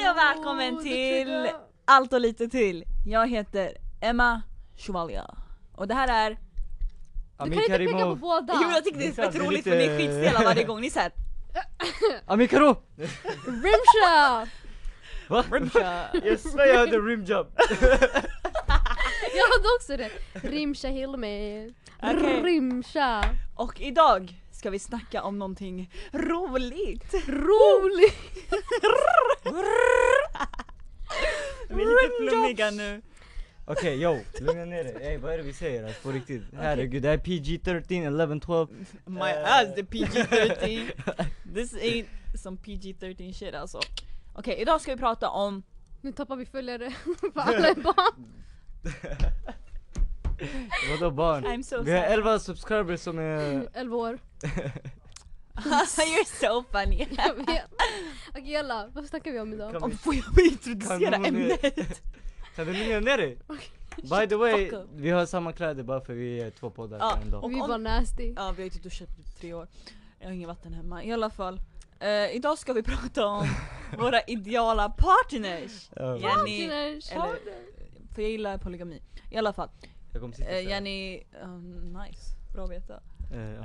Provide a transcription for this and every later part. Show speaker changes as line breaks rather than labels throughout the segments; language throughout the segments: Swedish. och välkommen
det
till
trodde
Allt och lite till. Jag heter Emma Chevalier. Och det här är...
jag. Du kan inte peka på
Karimov.
båda!
Jo jag tycker det är
Det är
fett
sant,
roligt
det
för
är
ni
lite-
skitstela varje gång ni säger
Amikaro!
Rimshot!
Va?
eh,
Yes, jag hade rimjob!
Jag hade också det! Rimsha Hilmi.
Okej.
Rimsha.
Och idag ska vi snacka om någonting roligt.
Rolig!
Vi är lite flummiga nu.
Okej yo, lugna ner dig. Ey vad är det vi säger alltså på riktigt? Herregud, det här är PG-13, 11, 12.
My
Eh.
ass the PG-13. This ain't some PG-13 shit alltså. Okej, idag ska vi prata om...
Nu tappar vi följare för alla är barn.
Vadå barn?
I'm so
vi har
sorry.
11 subscribers som är...
11 år.
You're so funny.
Jag vet. Okej jalla, vad snackar vi om idag?
Kan
Om
vi-
får jag
Kan
introducera
vi gå ner?
ämnet?
Kan du lugna ner dig? By the way,
Fuck up.
vi har samma kläder bara för vi är två poddar
Ja,
på en dag.
och-
Vi är
om-
bara nasty.
Ja, vi har inte duschat på typ tre år. Jag har inget vatten hemma. I alla fall. Eh, idag ska vi prata om våra ideala partners.
Ja,
Jenny,
Partners.
eller- för jag gillar polygami. I alla fall.
jag kommer sitta
Uh,
såhär.
Jenny, um, nice. Bra att veta.
Eh, ja.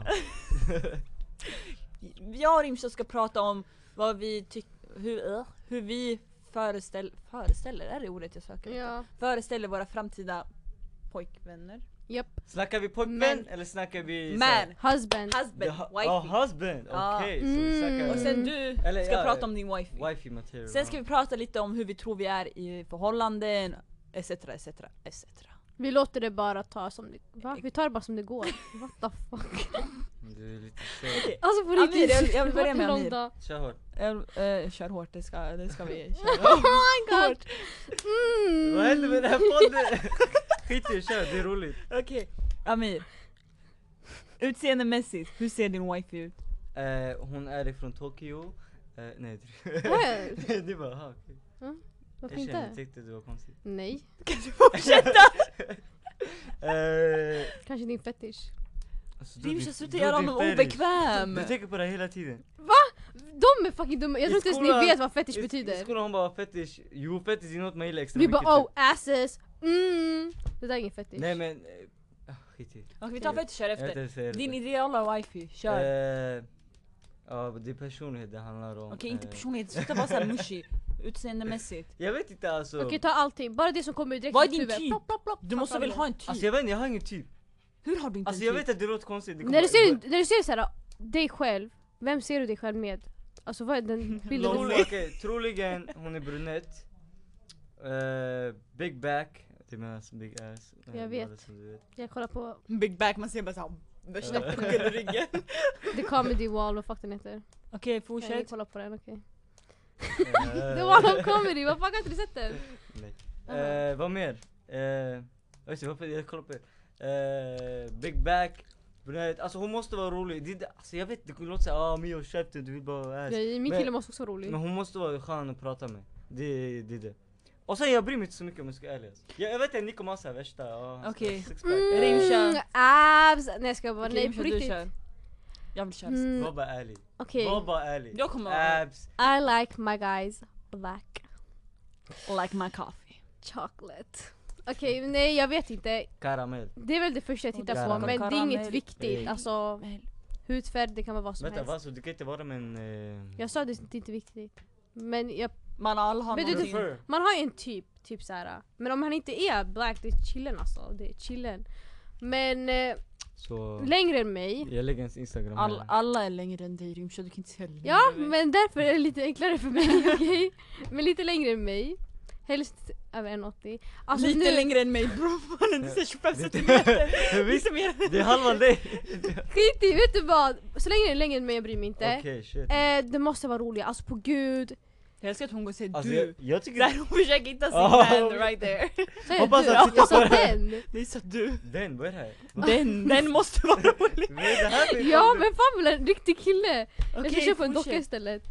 Jag och Rimsha ska prata om vad vi tycker, hur, eh, hur vi föreställ, föreställer, är det ordet jag söker? efter?
Ja.
Föreställer våra framtida pojkvänner.
Japp.
Snackar vi pojkvän
Men-
eller snackar vi... såhär-
Man,
Husband.
husband,
The hu- Ja,
wifey.
husband!
Ja.
Okej, så vi snackar...
Mm.
Och sen du
Eller,
ska
ja,
prata om din wifey.
Wifey material.
Sen ska vi prata lite om hur vi tror vi är i förhållanden, etc, etc, etc.
Vi låter det bara ta som det Va? Vi tar det bara som det går. What the fuck?
Du är lite sen.
Alltså på
Amir,
riktigt.
jag vill- jag vill
det
börja
har varit
med
en lång
Amir.
dag.
Kör hårt.
Jag, eh, kör hårt, det ska, det ska vi köra.
Oh my god! Mm.
Vad händer med den här podden? Skit i kör, det är roligt.
Okej, Amir. Utseendemässigt, hur ser din wifey ut?
Eh, hon är ifrån Tokyo. Eh, nej,
Well,
det var ah, aha, okej.
Varför
Jag kände,
inte?
tyckte det var konstigt.
Nej,
Kan du fortsätta?
Eh,
kanske din fetisch.
alltså, då
Rimsha
din-
sluta
då
göra
din
honom
er fetish.
obekväm!
Du tänker på det här hela tiden.
De är fucking dumma, jag
I
tror inte ens
skolan-
ni vet vad fetish
I- I
betyder.
skolan hon bara fetish, jo fetish är något man gillar extra
Vi
mycket,
bara oh
typ.
asses, mm. Det där är ingen fetisch.
Nej men, eh, ah, skit i.
Okej vi tar fetischer
Jag vet inte
efter.
ens säga det.
Din ideala wifey, kör.
Eh, Ja, det är personlighet det handlar om.
Okej inte
Eh,
personlighet, sluta vara såhär mushy. Utseendemässigt.
Jag vet inte alltså.
Okej ta allting, bara det som kommer direkt
Vad är
ur
din
tuben.
typ?
Plopp, plopp, plopp,
Du måste
plopp,
väl
plopp.
ha en typ?
Alltså jag vet inte, jag har ingen typ.
Hur har du inte
Alltså
en
jag
typ?
vet att det låter konstigt. det
När du
kommer-
ser, när du ser såhär, dig själv, vem ser du dig själv med? Alltså vad är den bilden du
Trol-
får?
Okej, troligen hon är brunett. Eh, big back. Det menas big ass. Eh,
Jag vet.
båda som du vet.
Jag kollar på
Big back, man ser bara såhär värsta pucken i ryggen.
the comedy wall, vad fuck den heter.
Okej
Nej, Jag
fortsätt.
kollar på den, okej.
Eh,
The wall of comedy, vad fuck har inte du sett den?
nej.
Aha.
Eh, vad mer? Eh, just det, varför jag kollar på er. Eh, big back. Brunett. Alltså hon måste vara rolig. Det, det- alltså jag vet, det låter såhär ah Mio käften du vill bara vara ass.
Nej, min
Men-
kille måste också vara rolig.
Men hon måste vara skön att prata med. Det är det. Är det. Och sen jag bryr mig inte så mycket om jag ska vara ärlig. alltså. Jag, jag vet att ni kommer ha såhär värsta, ja, han ska ha
Okej.
sixpack.
Rim,
Mm,
kör.
abs! Nej jag skojar bara,
Okej,
nej
Rimsha,
på
du
riktigt.
kör. Jag vill köra.
Mm,
Var bara ärlig.
Okej,
Var bara ärlig.
Jag kommer vara
Abs.
I like my guys black
like my coffee.
chocolate. Okej, nej jag vet inte.
Karamell.
Det är väl det första jag
Och
tittar
det-
på, men det är
Karamell.
inget viktigt.
Ey.
Alltså hudfärg, det kan vara vad som
Vänta,
helst.
vad alltså, du kan inte vara med en... Eh...
Jag sa det är inte viktigt. Men jag,
Man alla har
Men du-
någonting.
Prefer.
man har ju en typ, typ såhär. Men om han inte är black, det är chillen alltså. Det är chillen. Men eh,
Så...
längre än mig.
Jag lägger ens instagram
All,
här.
alla är längre än dig Rimsha, du kan inte säga längre
Ja,
än mig.
men därför är det lite enklare för mig, okej? Men lite längre än mig. Helst över 1,80. Alltså
Lite
nu,
längre än mig bro, mannen du är såhär 25
Det är inte-
centimeter.
Jag
Det är
visste-
så mer-
Det är halva dig!
skit i, vet du vad? Så länge det är längre än mig, jag bryr mig inte.
Okej, shit.
Eh, det måste vara roligt, alltså på gud.
Jag älskar att hon går och säger
Alltså
du.
jag, jag tycker...
Där hon försöker hitta sin
Ja.
hand right there.
Så är
Hoppas
du.
att titta
jag sa
på det.
den!
Det är så du.
Den, vad är det här? Vad
Den, den måste vara rolig.
vad är det här för
Ja men fan vill en riktig kille! jag ska köpa en docka
fortsätt.
istället.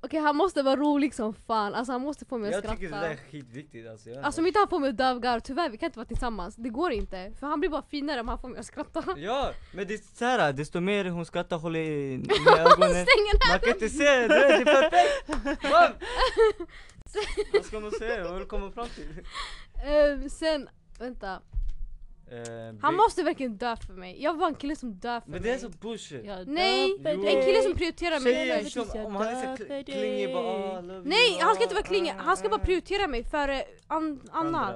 Okej han måste vara rolig som fan, alltså han måste få mig att
Jag tycker det där
skratta.
är skitviktigt alltså. Jag,
Alltså om inte han får mig att dövgarva, tyvärr vi kan inte vara tillsammans. Det går inte. För han blir bara finare om han får mig att skratta.
Ja, men det är såhär, desto mer hon skrattar håller i med ögonen.
Stäng den här!
Man kan inte se, det det är perfekt! Bam! ska man säga? Vad vill du komma fram till?
Ehm, sen, vänta.
Eh,
Han
Big-
måste verkligen dö för mig. Jag var en kille som dör för
Men det
mig.
är så bullshit.
Jag
Nej,
dör för
Jo.
En
dig.
kille som prioriterar mig
Tjejer
först.
tills
som,
jag
om han är
dör
så
för
kl- klingig bara
dig.
ah, I love you,
Nej, han ska inte
ah,
vara klingig. Han ska bara
ah,
prioritera mig före an-
ah. Andra,
annat.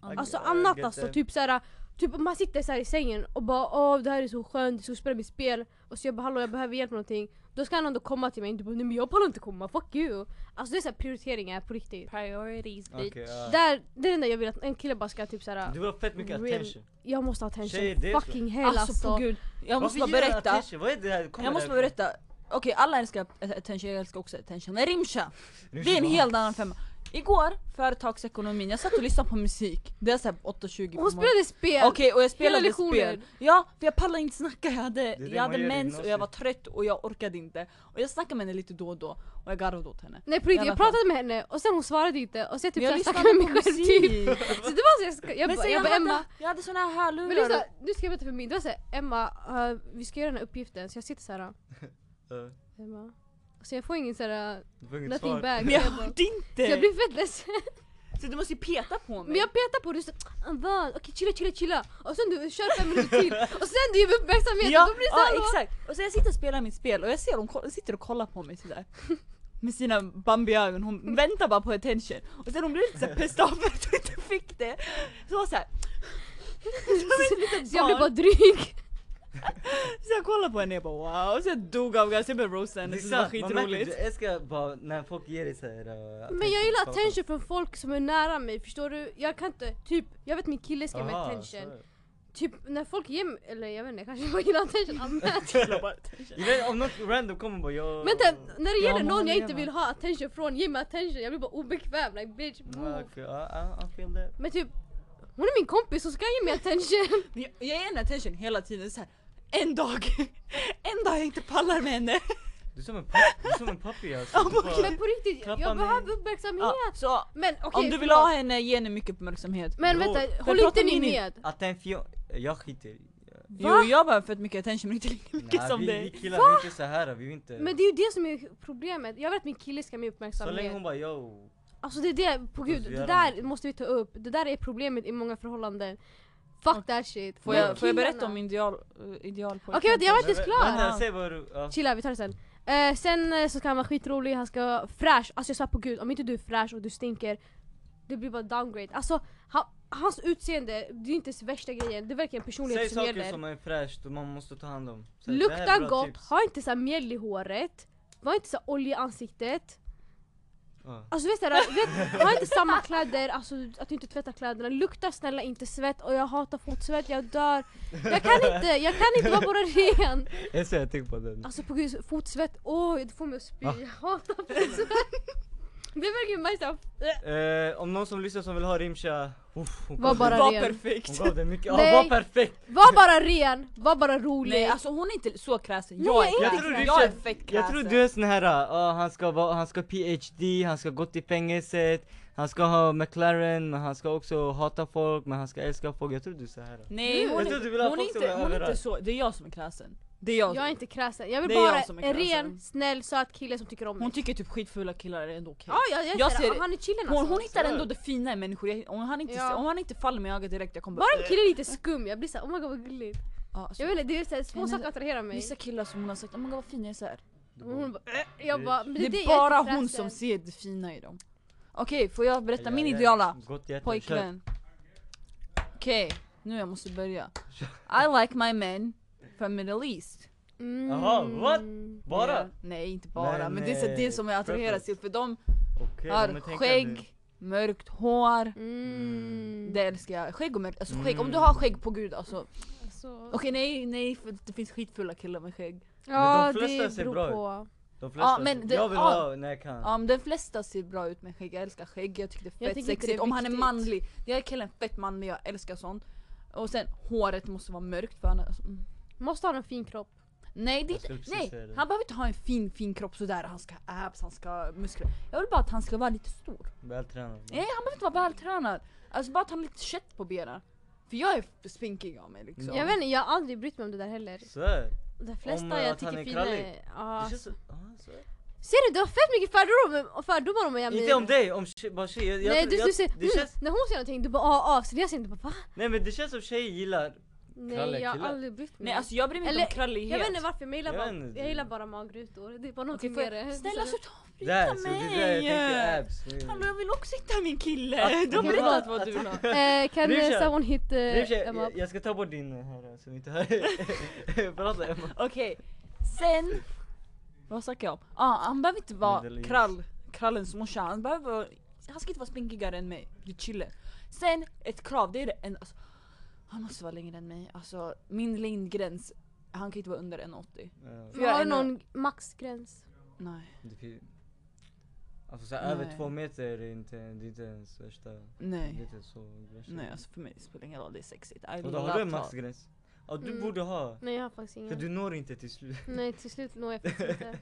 ah, I
Alltså
get- I
annat
get
alltså,
that.
typ såhär Typ man sitter såhär i sängen och bara åh det här är så skönt, jag ska spela mitt spel Och så jag bara hallå jag behöver hjälp med någonting Då ska han ändå komma till mig, inte bara nej men jag pallar inte komma, fuck you Alltså det är såhär prioriteringar på riktigt
Priorities bitch.
Okej, ja.
Där, det är det enda jag vill att en kille bara ska typ såhär
Du vill ha fett mycket
Real-
attention.
Jag måste ha attention,
Tjejer, det är så.
fucking hell
Alltså,
alltså,
på gud. Jag måste bara
Varför ger du
berätta.
attention? Vad är det här? Kommer
Jag måste
det
bara
här-
berätta. Okej alla älskar attention, jag älskar också attention. Men rimsha, det är en helt annan femma. Igår, företagsekonomin, jag satt och lyssnade på musik. Det är såhär 8.20 på
Hon
morgonen.
spelade spel!
Okej och jag spelade
lektionen.
spel. Ja, för jag pallade inte snacka, jag hade,
det
jag
man
hade
gör i
mens och jag
gymnasiet.
var trött och jag orkade inte. Och jag snackade med henne lite då och då och jag garvade åt henne.
Nej på
I alla
riktigt, jag
fall.
pratade med henne och sen hon svarade inte och så jag typ
Men
såhär snackade med mig själv typ Så det var så jag, ska, jag,
Men
bara,
sen
jag
jag,
bara Emma
hade, jag hade såna här hörlurar.
Men lyssna, nu ska jag berätta för min. Det var såhär, Emma, eh, vi ska göra den här uppgiften. Så jag sitter såhär,
Ja,
Emma. Så Alltså, jag får ingen såhär,
du får inget
nothing
svar.
back.
Men
Så
jag
jag, bara,
hörde inte!
så jag blir fett ledsen.
Så du måste ju peta på mig.
Men jag petar på det och så, "Ah, vad? Okej chilla chilla chilla. Och sen du kör fem minuter till. Och sen du ger mig uppmärksamhet.
ja,
och då blir det
ja,
såhär, va?
exakt. Och så jag sitter och spelar mitt spel och jag ser hon ko- sitter och kollar på mig sådär. Med sina Bambi-ögon, hon väntar bara på attention. Och sen hon blev lite såhär pissed off för att hon inte fick det. Så hon såhär,
Så jag blir bara dryg.
så jag kollar på henne och jag bara wow. Så jag dog av gas, jag började roasta
Det
henne
är
så det var
sant, man märker,
skitroligt.
du älskar bara när folk ger dig äh, såhär
Men jag gillar attention från folk som är nära mig. Förstår du? Jag kan inte, typ, jag vet min kille ska ge mig attention. Typ när folk ger mig, eller jag vet inte, kanske jag gillar attention. allmänt.
Gillar om något random kommer bara jag...
Men typ, när det
Ja,
gäller
men
någon
håller
jag
jag
inte
med.
vill ha attention från, ge mig attention. Jag blir bara obekväm. Like bitch
Ja,
move.
okej, ja, ja, I feel that.
Men typ, hon är min kompis så ska jag ge mig attention.
Men Jag, jag ger henne attention hela tiden så här. En dag, en dag jag inte pallar med henne.
Du är som en papp- du är som en puppy alltså.
Ja,
Du bara-
Men på riktigt,
Klappa
jag
mig.
behöver uppmärksamhet.
Ja, så
Men okej,
om du vill
förlåt.
ha henne, ge henne mycket uppmärksamhet.
Men
Bror,
vänta,
men
håll
prata
inte ni
med
med?
Attention, jag skiter i-
Jo jag behöver fett mycket attention men inte lika mycket
Nej,
som
vi,
dig.
vi killar vi är inte såhär, vi är inte...
Liksom Men det är ju det som är problemet. Jag vill att min kille ska ge mig
så länge
uppmärksamhet.
hon bara yo.
Alltså det är det, på gud,
Vad ska vi
det
göra?
där måste vi ta upp. Det där är problemet i många förhållanden. Fuck that shit.
Får
Men
jag, får jag berätta
killarna-
om min ideal, eh, idealpojkvän?
Okej vänta, jag var inte ens
Men-
klar.
Vänta, säg vad du... ja.
Chilla, vi tar det sen. Eh, sen eh, så ska han vara skitrolig, han ska vara fräsch. Alltså jag svär på gud, om inte du är fräsch och du stinker, det blir bara downgrade. Alltså ha, hans utseende, det är inte ens värsta grejen. Det är verkligen
Säg
personlighet som
saker
gäller.
som är fräscht och man måste ta hand om. Så det här är
Lukta
bra
gott,
tips.
ha inte så här mjäll i håret. Var inte så här olja i ansiktet.
Ja.
Alltså vet du, vet, ha inte samma kläder, alltså att du inte tvättar kläderna. Lukta snälla inte svett och jag hatar fotsvett, jag dör. Jag kan inte, jag kan inte vara bara ren.
Jag ser, jag tänker på den.
Alltså på gud, fotsvett, åh det får mig att spy.
Ah.
Jag hatar fotsvett. Det är verkligen bajsa.
Eh, om någon som lyssnar som vill ha Rimsha, uff, hon
Var
gav
Det
bara
den-
var
ren.
perfekt!
Hon gav den mycket, ja,
Nej.
var perfekt!
Var bara ren, var bara rolig.
Nej alltså hon är inte så kräsen,
Nej,
jag är
jag är
jag,
inte
tror
kräsen.
jag är fett kräsen!
Jag
Alltså.
tror du är sån här, ja han ska vara, han ska PhD, han ska gått i fängelset, han ska ha McLaren, men han ska också hata folk, men han ska älska folk. Jag tror du är så här.
Nej hon,
Jag
är-
tror du vill ha
hon, är
folk som
inte,
är
hon är inte
överallt.
så, det är jag som är kräsen. Det är jag,
jag är inte kräsen, jag vill
Det är jag
bara
som är
en
kräsen.
ren, snäll, söt kille som tycker om mig.
Hon tycker typ skitfula killar är ändå okej.
Ja, jag, jag,
Jag
ser
ser
det.
det.
Han är chillen alltså.
Hon, hon hittar
så är
ändå
det.
det fina i människor, Jag- om han inte,
Ja.
om han inte faller mig i ögat direkt jag kommer
Bara en kille är lite skum, jag blir såhär oh my god vad gulligt.
Ja, så-
Jag vet inte, det är såhär, små
Men-
saker attraherar mig.
Vissa killar som hon har sagt, oh my god vad fina jag är såhär.
Och Hon bara, äh, jag bara, men
Det är
jag
bara
inte
hon
fräsen.
som ser det fina i dem. Okej, får jag berätta
Ja,
min
ja,
ideala?
Gott hjärta,
Pojkvän. Okej, nu jag måste börja. I like my men from Middle East.
Mm.
Jaha, what? kör. Bara?
Ja, nej, inte bara.
Men,
men det är så
eh,
det som jag attraheras till för de
Okej, men
har
tänk nu.
skägg, mörkt hår.
Mm.
Det älskar jag. Skägg och mörkt, alltså skägg. Om du
Mm.
har skägg på gud alltså. Okej
Så.
nej, nej för det finns skitfulla killar med skägg.
Ja,
Men de flesta
det
ser
beror
bra ut.
på.
De flesta,
Ja, men det-
jag vill
ja.
ha när jag kan.
Ja men de flesta ser bra ut med skägg, jag älskar skägg, jag tycker det
Jag
är fett
tycker inte det är
sexigt. Om han är
viktigt.
manlig, jag är killen fett manlig, jag älskar sånt. Och sen håret måste vara mörkt för annars... Mm.
Måste ha en fin kropp.
Nej, det,
Jag skulle precis
nej
säga det.
han behöver inte ha en fin fin kropp sådär, han ska ha abs, han ska ha muskler. Jag vill bara att han ska vara lite stor.
Vältränad.
Nej han behöver inte vara vältränad. Alltså bara att han har lite kött på benen. För jag är f- spinkig av mig liksom.
Ja.
Jag vet inte, jag har aldrig brytt mig om det där heller.
Så här.
De flesta
eh,
jag
att han
tycker
är
fina
krallig.
är... Ja.
Det känns så, ja, så här.
Ser du? Du har fett mycket fördomar, fördomar om Amir.
Inte om dig, om tje- bara tjejer. Jag,
Nej
tror-
du,
jag,
du ser,
det
mm.
du,
känns,
när hon säger någonting du bara ah ah, så jag ser inte bara va?
nej men det känns som tjejer gillar
Nej
Kalle,
jag har
killar.
aldrig brytt mig.
Nej alltså jag bryr mig
Eller-
inte om krallighet.
jag vet inte varför, men jag gillar,
Jag vet
bara,
inte.
jag gillar bara magrutor. Det är bara
Okej,
någonting
får jag-
mer.
Snälla sluta
det här,
avbryta
så det är där jag tänker äh.
mig!
abs. Mm. Men-
Hallå jag vill också hitta min kille!
Ah,
Du har
okej,
berättat
förlåt.
vad du vill ha.
Eh, kan
Nu kör.
eh, someone hit eh,
Nej, tjej,
Emma?
jag, jag ska ta bort din eh, här så vi inte hör. Prata Emma.
Okej, sen... Vad snackar jag om? Ah, han behöver inte vara
Middle East.
krall, krallens morsa, han behöver vara, Han ska inte vara spinkigare än mig, det är chille. Sen, ett krav, det är det en, alltså, Han måste vara längre än mig, alltså min längdgräns, han kan inte vara under 1,80.
Ja,
för jag
Har
är
du någon maxgräns?
Nej,
det fin- Alltså så här, över
Nej.
två meter är inte, det är inte ens värsta. Det är
nej.
inte så värsta.
Nej alltså för mig spelar det ingen roll, det är Mm. sexigt. I
Och då
love
har du en
tal.
maxgräns? Ja du
Mm.
borde ha.
Nej jag har faktiskt
För
ingen.
du når inte till slut.
Nej till slut når jag faktiskt inte.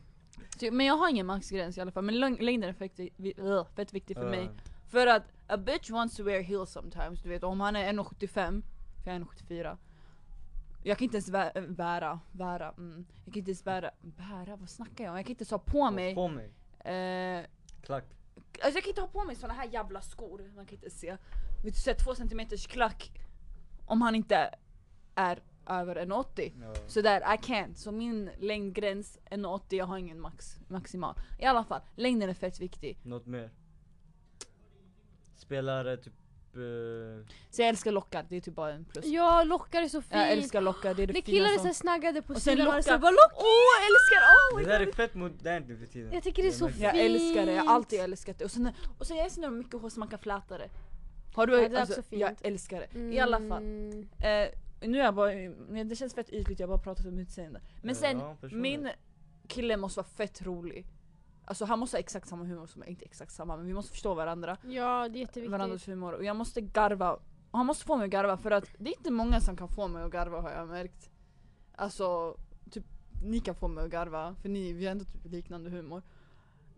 Så- Typ, Men jag har ingen maxgräns i alla fall, men läng- längden är fett, vi- ugh, fett viktig för mig.
Ja.
För att a bitch wants to wear heels sometimes, du vet om han är 1,75 För jag är 1,74 Jag kan inte ens vä- äh, bära, bära, mm. Jag kan inte ens bära, bära vad snackar jag om? Jag kan inte ens ha på mig
På mig.
eh,
Klack.
Alltså jag kan inte ha på mig såna här jävla skor, man kan inte se Vet du såhär två centimeters klack Om han inte är över 1,80
Ja.
så där, I can't. Så min längdgräns är 1,80, jag har ingen max, maximal. I alla fall, längden är fett viktig.
Något mer? Spelare typ... eh,
Så jag älskar lockar, det är typ bara en plus.
Jag lockar är så fint.
Jag älskar lockar, det är det,
När
finaste.
killar är såhär snaggade på
Och sen
sidan och
lockar-
så bara lock!
Åh, jag älskar oh my
det där
god.
är fett modernt nu för tiden.
Jag tycker det är så
märker
Jag älskar det, jag
fint.
har alltid älskat det. Och sen, och sen jag älskar när de har mycket hår som man kan fläta det. Har
Ja,
du,
det är
alltså,
också fint.
jag älskar det. I alla fall.
Mm.
Eh, nu är jag bara, men det känns fett ytligt, jag har bara pratat om utseende. Men sen,
Eh, Ja, personligt.
min kille måste vara fett rolig. Alltså han måste ha exakt samma humor som mig, inte exakt samma men vi måste förstå varandra.
Ja det är jätteviktigt.
Varandras humor. Och jag måste garva. Och Han måste få mig att garva för att det är inte många som kan få mig att garva har jag märkt. Alltså, typ ni kan få mig att garva för ni, vi har ändå typ liknande humor.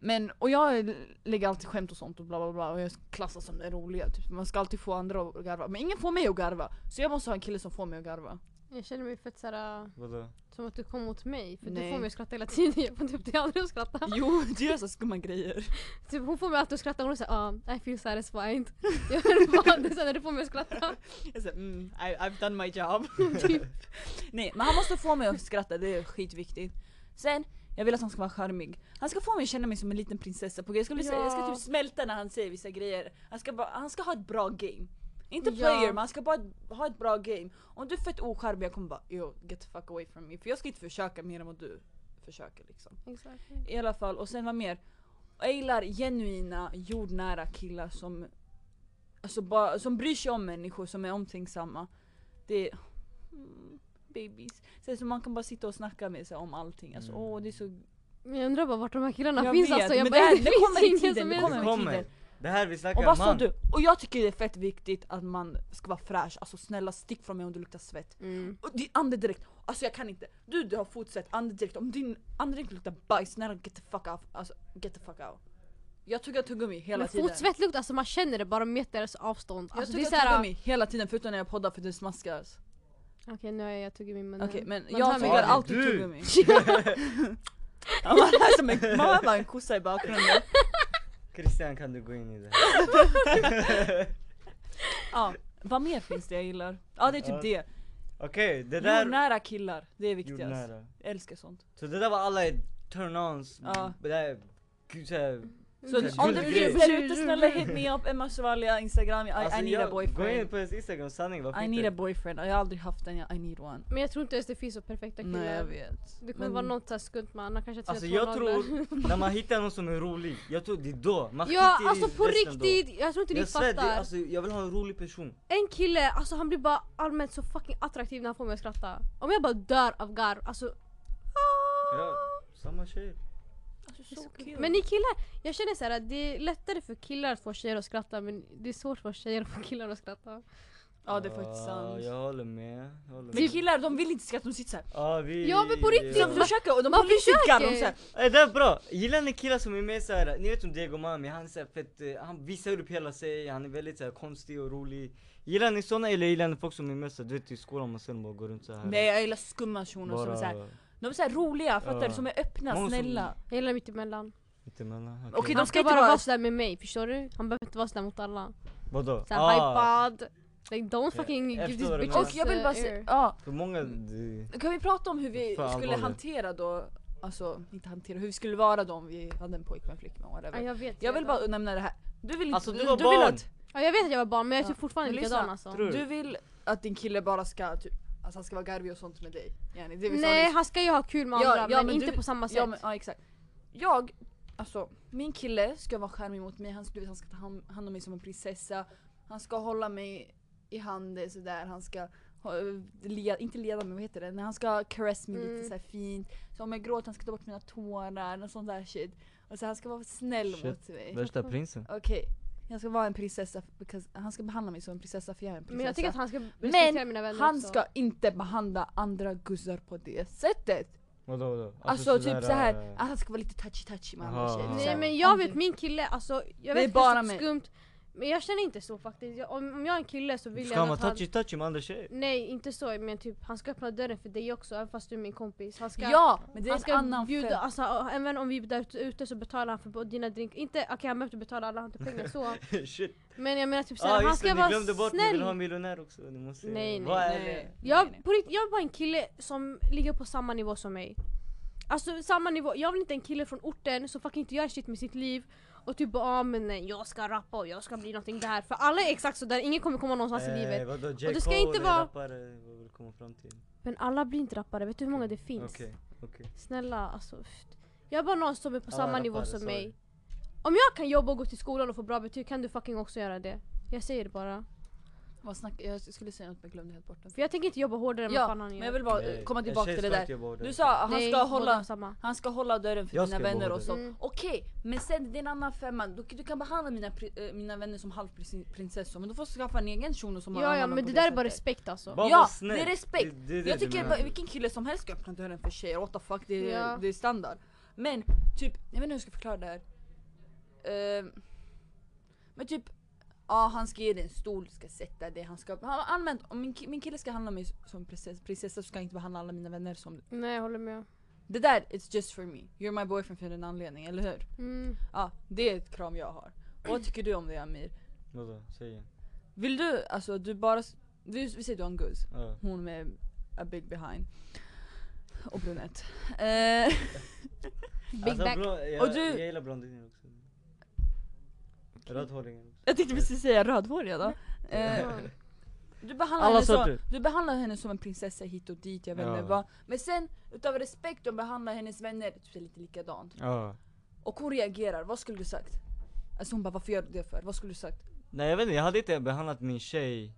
Men, och jag lägger alltid skämt och sånt och bla bla bla och jag klassas som den roliga typ. Man ska alltid få andra att garva. Men ingen får mig att garva. Så jag måste ha en kille som får mig att garva.
Jag känner mig fett såhär,
Vadå?
som att du kom mot mig. För du
Nej.
får mig att skratta hela tiden, jag får typ de andra att skratta.
Jo, du gör så skumma grejer.
Typ, hon får mig alltid att skratta och hon säger ah, I feel satisfied. Jag hör bara det sen när du får mig att skratta.
Jag säger mm, I, I've done my job.
Typ.
Nej men han måste få mig att skratta, det är skitviktigt. Sen, jag vill att han ska vara charmig. Han ska få mig att känna mig som en liten prinsessa på jag ska, bli, så- jag ska
Ja.
typ smälta när han säger vissa grejer. Han ska, bara, han ska ha ett bra game. Inte
Ja.
player men han ska bara ha ett bra game. Om du är fett ocharmig jag kommer bara yo get the fuck away from me. För jag ska inte försöka mer än vad du försöker liksom.
Exakt.
I alla fall, och sen vad mer? Jag gillar genuina, jordnära killar som, alltså bara, som bryr sig om människor, som är omtänksamma. Det är mm, babies. Sen så alltså man kan bara sitta och snacka med sig om allting. Alltså,
Mm.
åh, det är så...
Men Jag undrar bara vart de här killarna
Jag
finns
vet,
alltså. Jag
men
bara,
det här- det
finns
kommer i
ingen
tiden,
som
det
är-
kommer.
Det
med
kommer!
tiden.
Det här vi
Och
snackar
vad
om
sa
man.
du? Och jag tycker det är fett viktigt att man ska vara fräsch. Alltså snälla stick från mig om du luktar svett.
Mm.
Och det- Andedräkt, alltså jag kan inte. Du, du har fotsvett, andedräkt. Om din andedräkt luktar bajs, snälla get the fuck out. Alltså get the fuck out. Jag tuggar tuggummi hela
Men
tiden.
Fotsvett luktar, alltså man känner det bara meters avstånd.
Jag
Alltså, det är
tuggar
så här-
tuggummi hela tiden förutom när jag poddar för det smaskas.
Okej nu har jag tuggummi i munnen.
Okej men
Man tar
jag
med-
tuggar
Ja, det är
alltid
du.
tuggummi. Ja, Man är som en, man är bara en kossa i bakgrunden.
Christian kan du gå in i det här?
Ja, vad mer finns det jag gillar? Ja det är typ det.
Okej, det där...
Jordnära killar, det är viktigast.
Jordnära.
Jag älskar sånt.
Så det där var alla turn-ons.
Ja.
Det där... Gud såhär...
Så
Mm.
om du finns
Jordnära.
där ute snälla hit me up, Emma Sovalia, instagram, I, I need a
Alltså, jag- Gå in
boyfriend.
på hennes instagram, sanning vad
I
fint
need a
det
boyfriend, jag har aldrig haft en, jag- I need one.
Men jag tror inte ens det finns så perfekta killar.
Nej jag vet.
Det kommer
Men-
vara något så här skumt med han har kanske
är. Alltså
sina
jag
tonåringar.
tror, när man hittar någon som är rolig, jag tror det är då. Man
Ja
skiter i
alltså på
resten då.
riktigt, jag tror inte ni
Jag svär, det,
fattar.
alltså, jag vill ha en rolig person.
En kille, alltså han blir bara allmänt så fucking attraktiv när han får mig att skratta. Om jag bara dör av garv, alltså. ah,
Ja, samma tjej.
Alltså, so cute.
Men ni killar, jag känner såhär att det är lättare för killar att få tjejer att skratta men det är svårt för tjejer att få killar att skratta.
Ja det är faktiskt
Ah, Ja,
sant.
Jag håller med. Jag håller
Men
med.
killar de vill inte skratta, de sitter såhär.
Ja, vi,
Ja, men på riktigt,
De försöker och de
Man
har riktigt garv, de
försöker.
såhär.
Eh, det är bra! Gillar ni killar som är med såhär, ni vet som Diego Mami, han är såhär fett, eh, han visar upp hela sig, han är väldigt såhär konstig och rolig Gillar ni såna eller gillar ni folk som är med såhär, du vet i skolan man ser dem bara gå runt såhär
Nej jag gillar skumma personer som är
bara,
såhär, De är såhär roliga, fattar
Ja.
du? Som är öppna,
Många som-
snälla.
Jag gillar mittemellan.
Mittemellan, okej.
Okej,
Han
de
ska
ska
bara
inte vara-
vara sådär med mig, förstår du? Han behöver inte vara sådär mot alla.
Vadå?
Såhär hypad. Like don't fucking
Ah.
give
jag förstår
these
vad du
bitches
menar.
Och jag vill
uh,
bara
air.
säga, ja.
För många, det,
Alltså, eh, Kan vi prata om hur vi
Fan,
skulle
vad det-
hantera då, alltså inte hantera, hur vi skulle vara då om vi hade en pojkvän, flickvän,
Ja,
whatever.
jag vet
Jag vill
redan.
bara nämna det här. Du vill
Alltså,
du,
du
du
var
vill
barn.
att,
Ja jag vet att jag var barn men jag är
Ja,
typ fortfarande
men lyssna.
likadan alltså.
Tror du?
du vill att din kille bara ska typ, alltså han ska vara garvig och sånt med dig. Yani, det är liksom- vi sa
Nej
nyss.
han ska ju ha kul med
Ja,
andra
ja,
men,
men
inte
du-
på samma sätt.
Ja, men, ja exakt. Jag, alltså min kille ska vara charmig mot mig, han, ska- du vet, han ska ta hand, hand om mig som en prinsessa. Han ska hålla mig i handen sådär, han ska ha- le, inte leda mig, vad heter det? När han ska caress mig
Mm.
lite såhär fint. Så om jag gråter han ska ta bort mina tårar och sånt där shit. Och så han ska vara snäll
Shit.
mot mig.
värsta prinsen.
Okej, jag ska vara en prinsessa, because han ska behandla mig som en prinsessa för jag är en prinsessa.
Men jag tycker att han ska respektera
Men
mina vänner
han
också.
ska inte behandla andra gussar på det sättet!
Vadå vadå?
Alltså,
sådär,
typ så här,
eh,
att han ska vara lite touchy touchy med
Aha.
andra tjejer. typ-
Nej
Så-
men jag vet min kille, alltså jag
Det är
vet
bara
det är
mig.
så skumt Men jag känner inte så faktiskt, jag, om, om jag är en kille så vill
Ska
jag
han
nog att
vara
han
touchy touchy med andra tjejer?
Nej inte så men typ han ska öppna dörren för dig också även fast du är min kompis Han ska,
Ja! Men det är
han
en
ska
annan
bjuda,
fest.
alltså även om vi är där ute så betalar han för både dina drinkar, inte okej han behöver inte betala alla, han har inte pengar så
Shit!
Men jag menar typ
Ah
såhär, han
just
ska
det, ni
vara
glömde bort ni
snäll!
vill ha en miljonär också, ni måste
Nej, nej,
Typ. Vad är
nej.
det?
Jag, på riktigt, jag vill bara en kille som ligger på samma nivå som mig. Alltså samma nivå, jag vill inte en kille från orten som fucking inte gör shit med sitt liv och typ bara ah, men nej, jag ska rappa och jag ska bli någonting där. För alla är exakt sådär, ingen kommer komma någonstans
Eh,
i livet.
Vadå, J.
det
Cole
ska inte
är
vara-
rappare, vad vill du komma fram till?
Men alla blir inte rappare, vet du hur många det finns?
Okej, okej.
Snälla alltså. pff. Jag är bara någon som är på
Ja,
samma
rappare,
nivå som
sorry.
mig. Om jag kan jobba och gå till skolan och få bra betyg kan du fucking också göra det. Jag säger det bara.
Vad snack, jag skulle säga något men jag glömde helt bort det.
För jag tänker inte jobba hårdare än vad
Ja,
fan han
men
gör.
jag vill bara eh,
Nej,
komma
en
tillbaka
tjej
till det
ska
där.
inte jobba hårdare.
Du sa att han
Nej,
ska
båda har
hålla
samma.
han ska hålla dörren för
Jag
dina
ska jobba
vänner och
hårdare.
sånt.
Mm.
Okej, men sen det är en annan femma. Du, du kan behandla mina, pri- eh, mina vänner som halvprinsessor men du får skaffa en egen shuno som har
Ja,
hand
ja
om
men
på
det där är bara
sättet.
respekt alltså.
Bara
Ja,
var snäll.
det är respekt.
Det- det är det
Jag
du
tycker
menar.
bara, vilken kille som helst ska öppna dörren för tjejer, what the fuck, det är,
Ja.
det är standard. Men typ, jag vet inte hur jag ska förklara det här. Ehm, men typ, ja han ska ge dig en stol, ska sätta dig, han ska... Han, allmänt, om min, ki- min kille ska handla mig som prinsess, prinsessa så ska han inte behandla alla mina vänner som...
Nej jag håller med.
Det där, it's just for me. You're my boyfriend för en anledning, eller hur?
Mm.
Ja, det är ett krav jag har. Vad tycker du om det Amir?
Vadå, tjejen?
Vill du, alltså du bara... s- Vi, vi säger du har en guzz.
Ja.
Hon med a big behind. Och brunett. Eh,
Big
Alltså,
back.
blå- jag,
Och du-
jag gillar blondiner också. Rödhåringen också.
jag tänkte precis säga rödhåriga då. Eh,
Mm.
du, behandlar
Alla
henne som,
sorter.
du behandlar henne som en prinsessa hit och dit, jag vet inte
Ja.
vad. Men sen utav respekt och behandlar hennes vänner typ lite likadant.
Ja.
Och hon reagerar, vad skulle du sagt? Alltså hon bara varför gör du det för? Vad skulle du sagt?
Nej jag vet inte, jag hade inte behandlat min tjej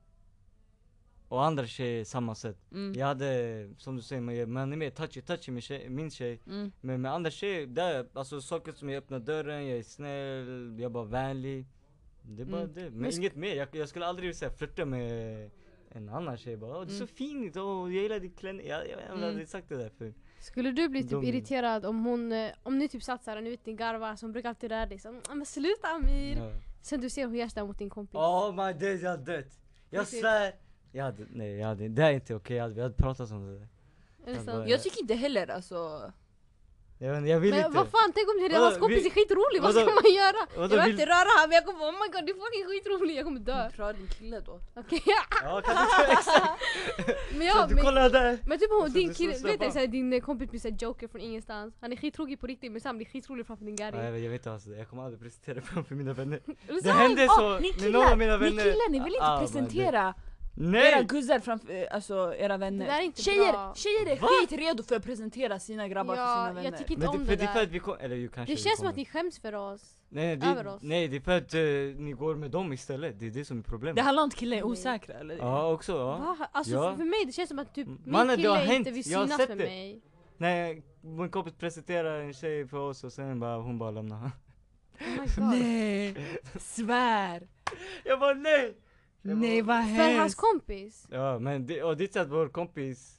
och andra tjejer samma sätt.
Mm.
Jag hade, som du säger, man- man är mer touchy touchy med tjej, min tjej.
Mm.
Men med andra tjejer, där, alltså saker som jag öppnar dörren, jag är snäll, jag är bara vänlig. Det är bara
Mm.
det, men,
Men sk-
inget mer. Jag, jag skulle aldrig säga flirta med en annan tjej bara, åh det är så
Mm.
fint, åh jag gillar din klänning. Jag, jag, jag hade
Mm.
sagt det där för
Skulle du bli typ
De-
irriterad om hon, eh, om ni typ satt såhär och ni vet din garva som brukar alltid röra dig så, "Ah, men sluta Amir!
Ja.
Sen du ser hon gör sådär mot din kompis.
Oh my days, jag hade dött! Jag
Riktigt.
svär! Jag hade, nej jag hade, det här är inte okej, jag hade, vi hade pratat om det där.
Är det
jag
sant?
bara-
Jag tycker inte heller alltså...
Jag, vet inte, jag vill
Men
inte.
vad fan, tänk om det är
Vadå,
hans kompis
vi-
är skitrolig, vad ska
vadå-
man göra?
vadå,
jag behöver
vill-
inte röra honom, jag kommer bara, oh my god du är fucking skitrolig, jag kommer dö.
Dra din kille då.
Okej?
Ja, kan du, exakt,
men ja,
du
men,
kollar där!
men typ hon,
Alltså,
din
det är så
kille,
slappa
vet du
av.
såhär din eh, kompis blir såhär joker från ingenstans. Han är skittråkig på riktigt men sen han blir skitrolig framför din
Ja, jag,
garry.
vet, jag vet inte alltså, jag kommer aldrig presentera framför mina vänner.
Är det
Det
sant?
hände så
Ah, ni
med några
killar,
av mina
ni
vänner.
killar, ni vill inte
Ah, my days.
presentera era
Nej!
guzzar framför eh, alltså, era vänner.
Det där är inte
tjejer,
bra.
tjejer är
Va?
skitredo för att presentera sina grabbar för sina
Ja,
vänner.
jag tycker inte
Men
om
det,
det
för det är för att
där.
vi kom, eller ju kanske
Det
vi
känns som
kommer.
att ni skäms för oss.
nej,
över
det,
oss.
nej det är för att eh, ni går med dem istället, det är det som är
Det
problemet.
handlar om att killar är osäkra eller?
Ja också ja.
Va? Alltså
Ja.
för- för mig det känns som att typ
Mm.
min
Mannen, det
kille
har
inte
hänt.
vill
Jag har
synas
sett
med
det.
mig.
Nej, min kompis presenterar en tjej för oss och sen bara hon bara lämnar.
Oh my god.
Nej, svär!
Jag bara nej! Jag
Nej
bara,
vad
För hans
hemskt!
kompis.
Ja men det, och det är så att vår kompis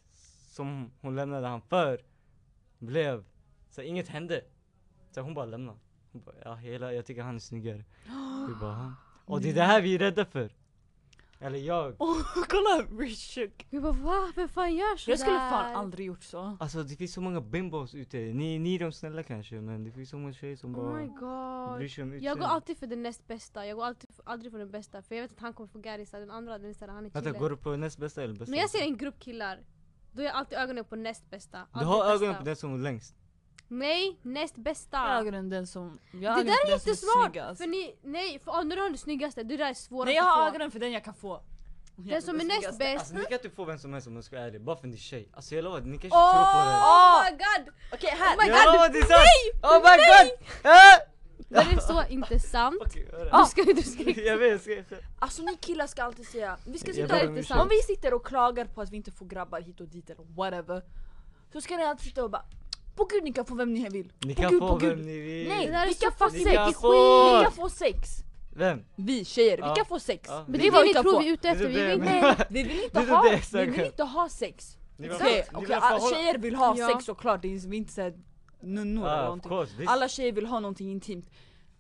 som hon lämnade han för blev, så inget hände. Så hon bara lämnade. Hon bara, ja hela, jag tycker han är snyggare. Vi bara, "Ha." och det är det här vi är rädda för. Eller jag.
Åh, kolla Richard.
Vi bara va? Vem fan gör sådär?
Jag skulle fan aldrig gjort så.
Alltså det finns så många bimbos ute. Ni, ni är de snälla kanske men det finns så många tjejer som
Oh my
bara bryr
god.
sig om
Jag
utseendet.
går alltid för den näst bästa, jag går alltid för, aldrig för den bästa. För jag vet att han kommer få garrisar, den andra den istället, han är
Vänta,
kille.
går du på näst bästa eller bästa?
När jag ser en grupp killar, då är jag alltid ögonen på näst bästa.
Du
aldrig
har
bästa.
ögonen på den som är längst.
Nej, näst
Jag
bästa.
har ögonen den som...
Det
Jag har
där
ögonen för
är
den som
jättesmart!
snyggast.
För ni, nej, för ah, när du har den snyggaste, det där är svårast
Nej jag har
att få.
ögonen för den jag kan få.
Den som är näst bäst.
Alltså ni kan inte få vem som helst om jag ska vara ärlig. Bara för att ni är tjej. Alltså jag lovar, ni kanske tror på det.
Oh
Åh!
my god!
Okej här!
Oh my
jag
god,
lovar det är sant! Oh my god! Ah!
Det är så inte sant.
Okej, hörru.
Du ska, du ska
Jag vet, jag ska- jag ska...
Alltså ni killar ska alltid säga, vi ska
Jag
sitta
ber
om
om,
ursäkt.
vi sitter och klagar på att vi inte får grabbar hit och dit eller whatever Så ska ni alltid sitta och bara På gud ni kan få vem ni vill,
Ni
på
kan
gud,
få
på gud
vem ni vill.
Nej,
Det där är
vi
så
kan få
fucking
sex!
skit. Ni
Vi
kan
kan få sex!
Vem?
Vi tjejer,
Ja.
vi kan få sex!
Ja.
Men
det
det var
är
vi
det
kan
prov
få!
vi är ute efter,
Det
vi
är det
vill
jag
inte...
menar.
Nej, vi vill inte
Det är
ha,
det jag
vi
söker.
vill inte ha sex!
Ni vill
Okej,
ha- ni
okej,
vill ha
alla
förhåll-
tjejer vill ha
Ja.
sex såklart, det är inte såhär nunnor eller
Ah, of
någonting
course, visst.
Alla tjejer vill ha någonting intimt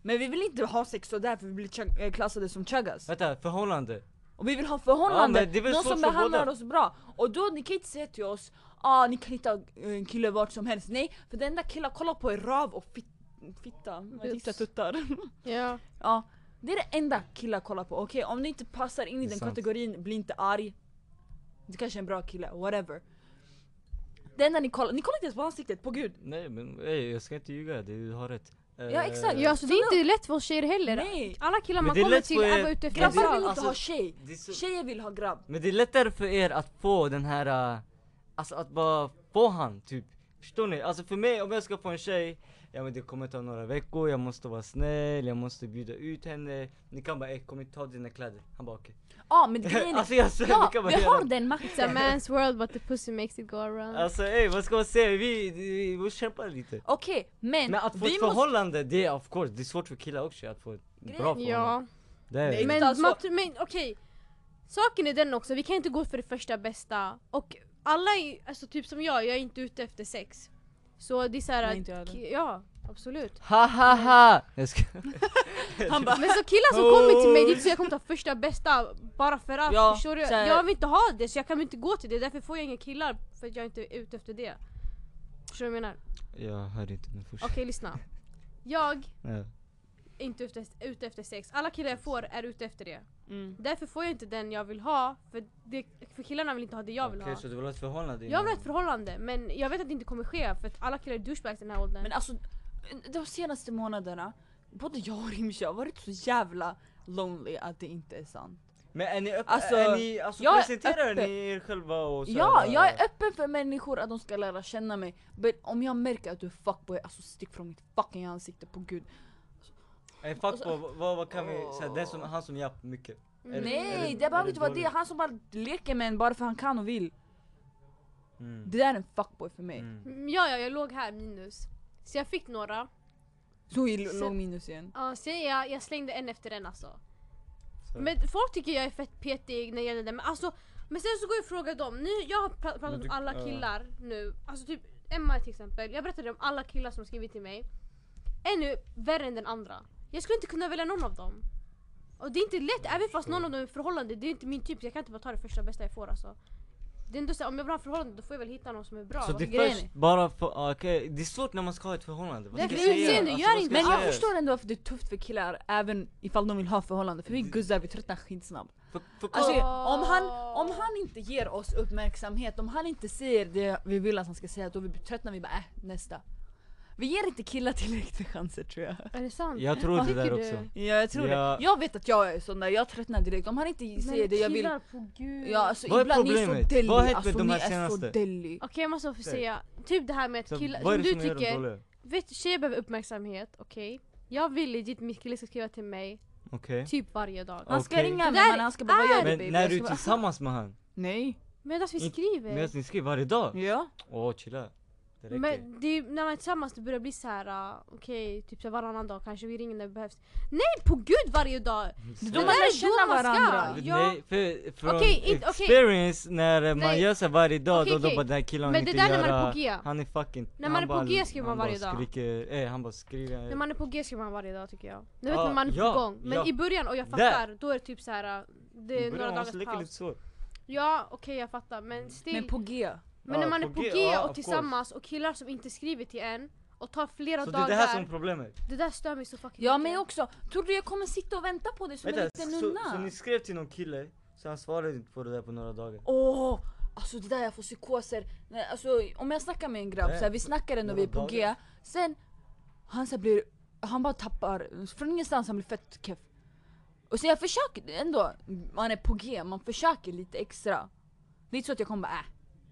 Men vi vill inte ha sex så därför vi blir chug- eh, klassade som chuggas
Vänta, förhållande.
Och vi vill ha förhållande,
Ja, men det är väl
någon
svårt
som
för
behandlar
båda.
oss bra. Och då, ni kan inte säga till oss ah, ni kan hitta eh, en kille vart som helst. Nej, för den där killar kollar på er röv och fit, fitta. Man tittar
Ups.
tuttar.
Ja.
ja, det är det enda killar kollar på. Okej, om ni inte passar in
Det
i
är
den
sant.
kategorin, bli inte arg. Du kanske är en bra kille, whatever. Det enda ni kollar, ni kollar inte ens på ansiktet, på gud.
Nej men ey, jag ska inte ljuga, du har rätt. Eh,
Ja, exakt.
ja, så det är inte lätt för oss tjejer heller.
Nej!
Alla killar
Men
man
det är
kommer
lätt
till
för
är
er-
bara ute efter
Men det-
Grabbar vill inte
grabbar.
alltså,
ha tjej,
Det är så-
tjejer vill ha grabb.
Men det är lättare för er att få den här, äh, alltså att bara få han typ. Förstår ni? Alltså för mig, om jag ska få en tjej, ja men det kommer ta några veckor, jag måste vara snäll, jag måste bjuda ut henne. Ni kan bara ey kom hit, ta dina kläder. Han bara okej.
Ja men grejen är,
alltså jag svär,
ja,
ni kan bara
vi
göra
har
det.
den
It's a
makten.
man's world but the pussy makes it go around.
Alltså ey vad ska man säga? Vi, vi, vi kämpar lite.
Okej, men,
Men att få ett
vi måste...
förhållande, det är of course, det är svårt för killar också att få ett bra förhållande.
ja.
Det är,
Nej,
Men,
Alltså-
man, men okej, saken är den också, vi kan inte gå för det första bästa och alla är, alltså typ som jag, jag är inte ute efter sex. Så det är såhär,
Nej, inte jag heller.
ja absolut.
Ha ha ha! Jag ska...
Han bara
Men så killar som kommer till mig, det är inte så jag kommer ta första bästa bara för att,
Ja,
förstår du?
så här-
Jag vill inte ha det så jag kan väl inte gå till det, därför får jag inga killar för att jag inte är ute efter det. Förstår du vad jag menar?
Jag hör inte men fortsätt.
Okej lyssna. Jag
Ja.
är inte ute, ute efter sex, alla killar jag får är ute efter det.
mm.
Därför får jag inte den jag vill ha, för, det, för killarna vill inte ha det jag vill
Okej,
ha.
så du vill ha ett förhållande?
Jag vill ha
innan-
ett förhållande men jag vet att det inte kommer ske för att alla killar är douchebags i den här åldern.
Men alltså, de senaste månaderna, både jag och Rimshi har varit så jävla lonely att det inte är sant.
Men är ni öppna?
Alltså,
är ni, alltså
jag är
presenterar
öppen.
ni er själva och så
Ja,
här,
jag
äh,
är öppen för människor att de ska lära känna mig. Men om jag märker att du är fuckboy, alltså stick från mitt fucking ansikte på gud.
En
Alltså,
fuckboy, vad, vad, vad kan vi säga? Den som, han som japp mycket.
Mm.
Är det- är
Nej,
det-
det
är
behöver
det
inte vara det.
dåligt?
Han som bara leker med en bara för han kan och vill.
Mm.
Det där är en fuckboy för mig.
Mm.
Mm, Ja, ja, jag låg här minus. Så jag fick några.
Så i l-
Så-
låg minus igen.
Ja, så jag, jag slängde en efter en alltså.
Så.
Men folk tycker jag är fett petig när det gäller det. Men alltså, men sen så går jag och frågar dem. Nu, jag har pra- pratat
du-
om alla
ja.
killar nu. Alltså typ Emma till exempel. Jag berättade om alla killar som skrivit till mig. En är värre än den andra. Jag skulle inte kunna välja någon av dem. Och det är inte lätt, även fast någon av dem är i förhållande, det är inte min typ så jag kan inte bara ta det första bästa jag får alltså. Det är ändå så här, om jag vill ha ett förhållande då får jag väl hitta någon som är bra.
Så
Vad-
det är
grejen
först bara för, ah, okej, det är svårt när man ska ha ett förhållande. Vad
Nej,
ska
för
jag säga? Alltså,
utseende gör
vad ska
inte
Men jag
säga?
förstår ändå varför det är tufft för killar även ifall de vill ha förhållande. För vi
Det-
guzzar, vi tröttnar skitsnabbt.
För, för,
Alltså,
Åh.
om, han, om han inte ger oss uppmärksamhet, om han inte säger det vi vill att han ska säga, då vi tröttnar vi bara äh, nästa. Vi ger inte killar tillräckligt med chanser tror jag.
Är det sant?
jag tror det
Tycker
där
du?
också.
Ja, jag tror
Ja.
det. Jag vet att jag är sån där, jag tröttnar direkt. Om han inte säger det jag vill...
killar på gud.
Ja, alltså,
Vad är
ibland, ni är
problemet?
så delly.
Vad har hänt med
alltså,
de här
ni är så
senaste?
delly.
Okej jag måste få
Säg.
säga, typ det här med
Så
att killar,
vad är
som
det
du
som gör dem
tycker,
dåliga?
vet tjejer behöver uppmärksamhet, okej? Jag vill legit min kille ska skriva till mig
Okej.
typ varje dag.
Ja.
Han ska
Okej.
ringa
Det där
mig men han ska bara vad gör
Men
baby? Alltså,
när
Jag
du
ska
är
bara,
tillsammans med han,
Nej.
Medan vi
Inte-
skriver.
Mm. medan ni skriver varje dag?
Ja.
Åh chilla. Det räcker.
Men det är, när man är tillsammans det börjar bli så här, ah, okej, typ så här varannan dag kanske vi ringer när det behövs. Nej på gud varje dag!
De
Det
har
där är
lärt
då
känna
man ska.
varandra.
Ja.
Nej, för, från
Okej, inte- okej.
experience när man
Nej.
gör så här varje dag,
Okej,
då, då
okej.
bara den här killen
Men
har
det
inte
där när man är
göra-
på G.
Han är fucking...
När man
han
är på
bara-
G skriver man
han
varje
bara
dag.
Skriker, eh, han bara skriker...
När man är på G skriver man varje dag tycker jag. Du vet
Ja,
när man är
ja,
på gång. Men
ja.
i början, och jag
Där.
fattar, då är det typ så här. det är några
man måste
dagars
leka lite
paus.
svårt.
Ja okej jag fattar men still.
Men på G.
Men när
Ja,
man är
på
på
G,
G,
ja, of
och tillsammans och killar som inte skriver till en och tar flera
Så det är
dagar.
det här som är problemet.
stör mig så fucking
Ja
mycket.
men också, tror du jag kommer sitta och vänta på dig som en
Vänta,
liten
så,
nunna?
så ni skrev till någon kille, så han svarade inte på det där på några dagar?
Åh! alltså det där jag får psykoser. Nej, Alltså, om jag snackar med en grabb,
Nej.
så här, vi snackar ändå, vi är på G. Sen, han så här blir, han bara tappar, från ingenstans han blir fett keff. Och så jag försöker ändå, man är på G, man försöker lite extra. Det är inte så att jag kommer bara äh.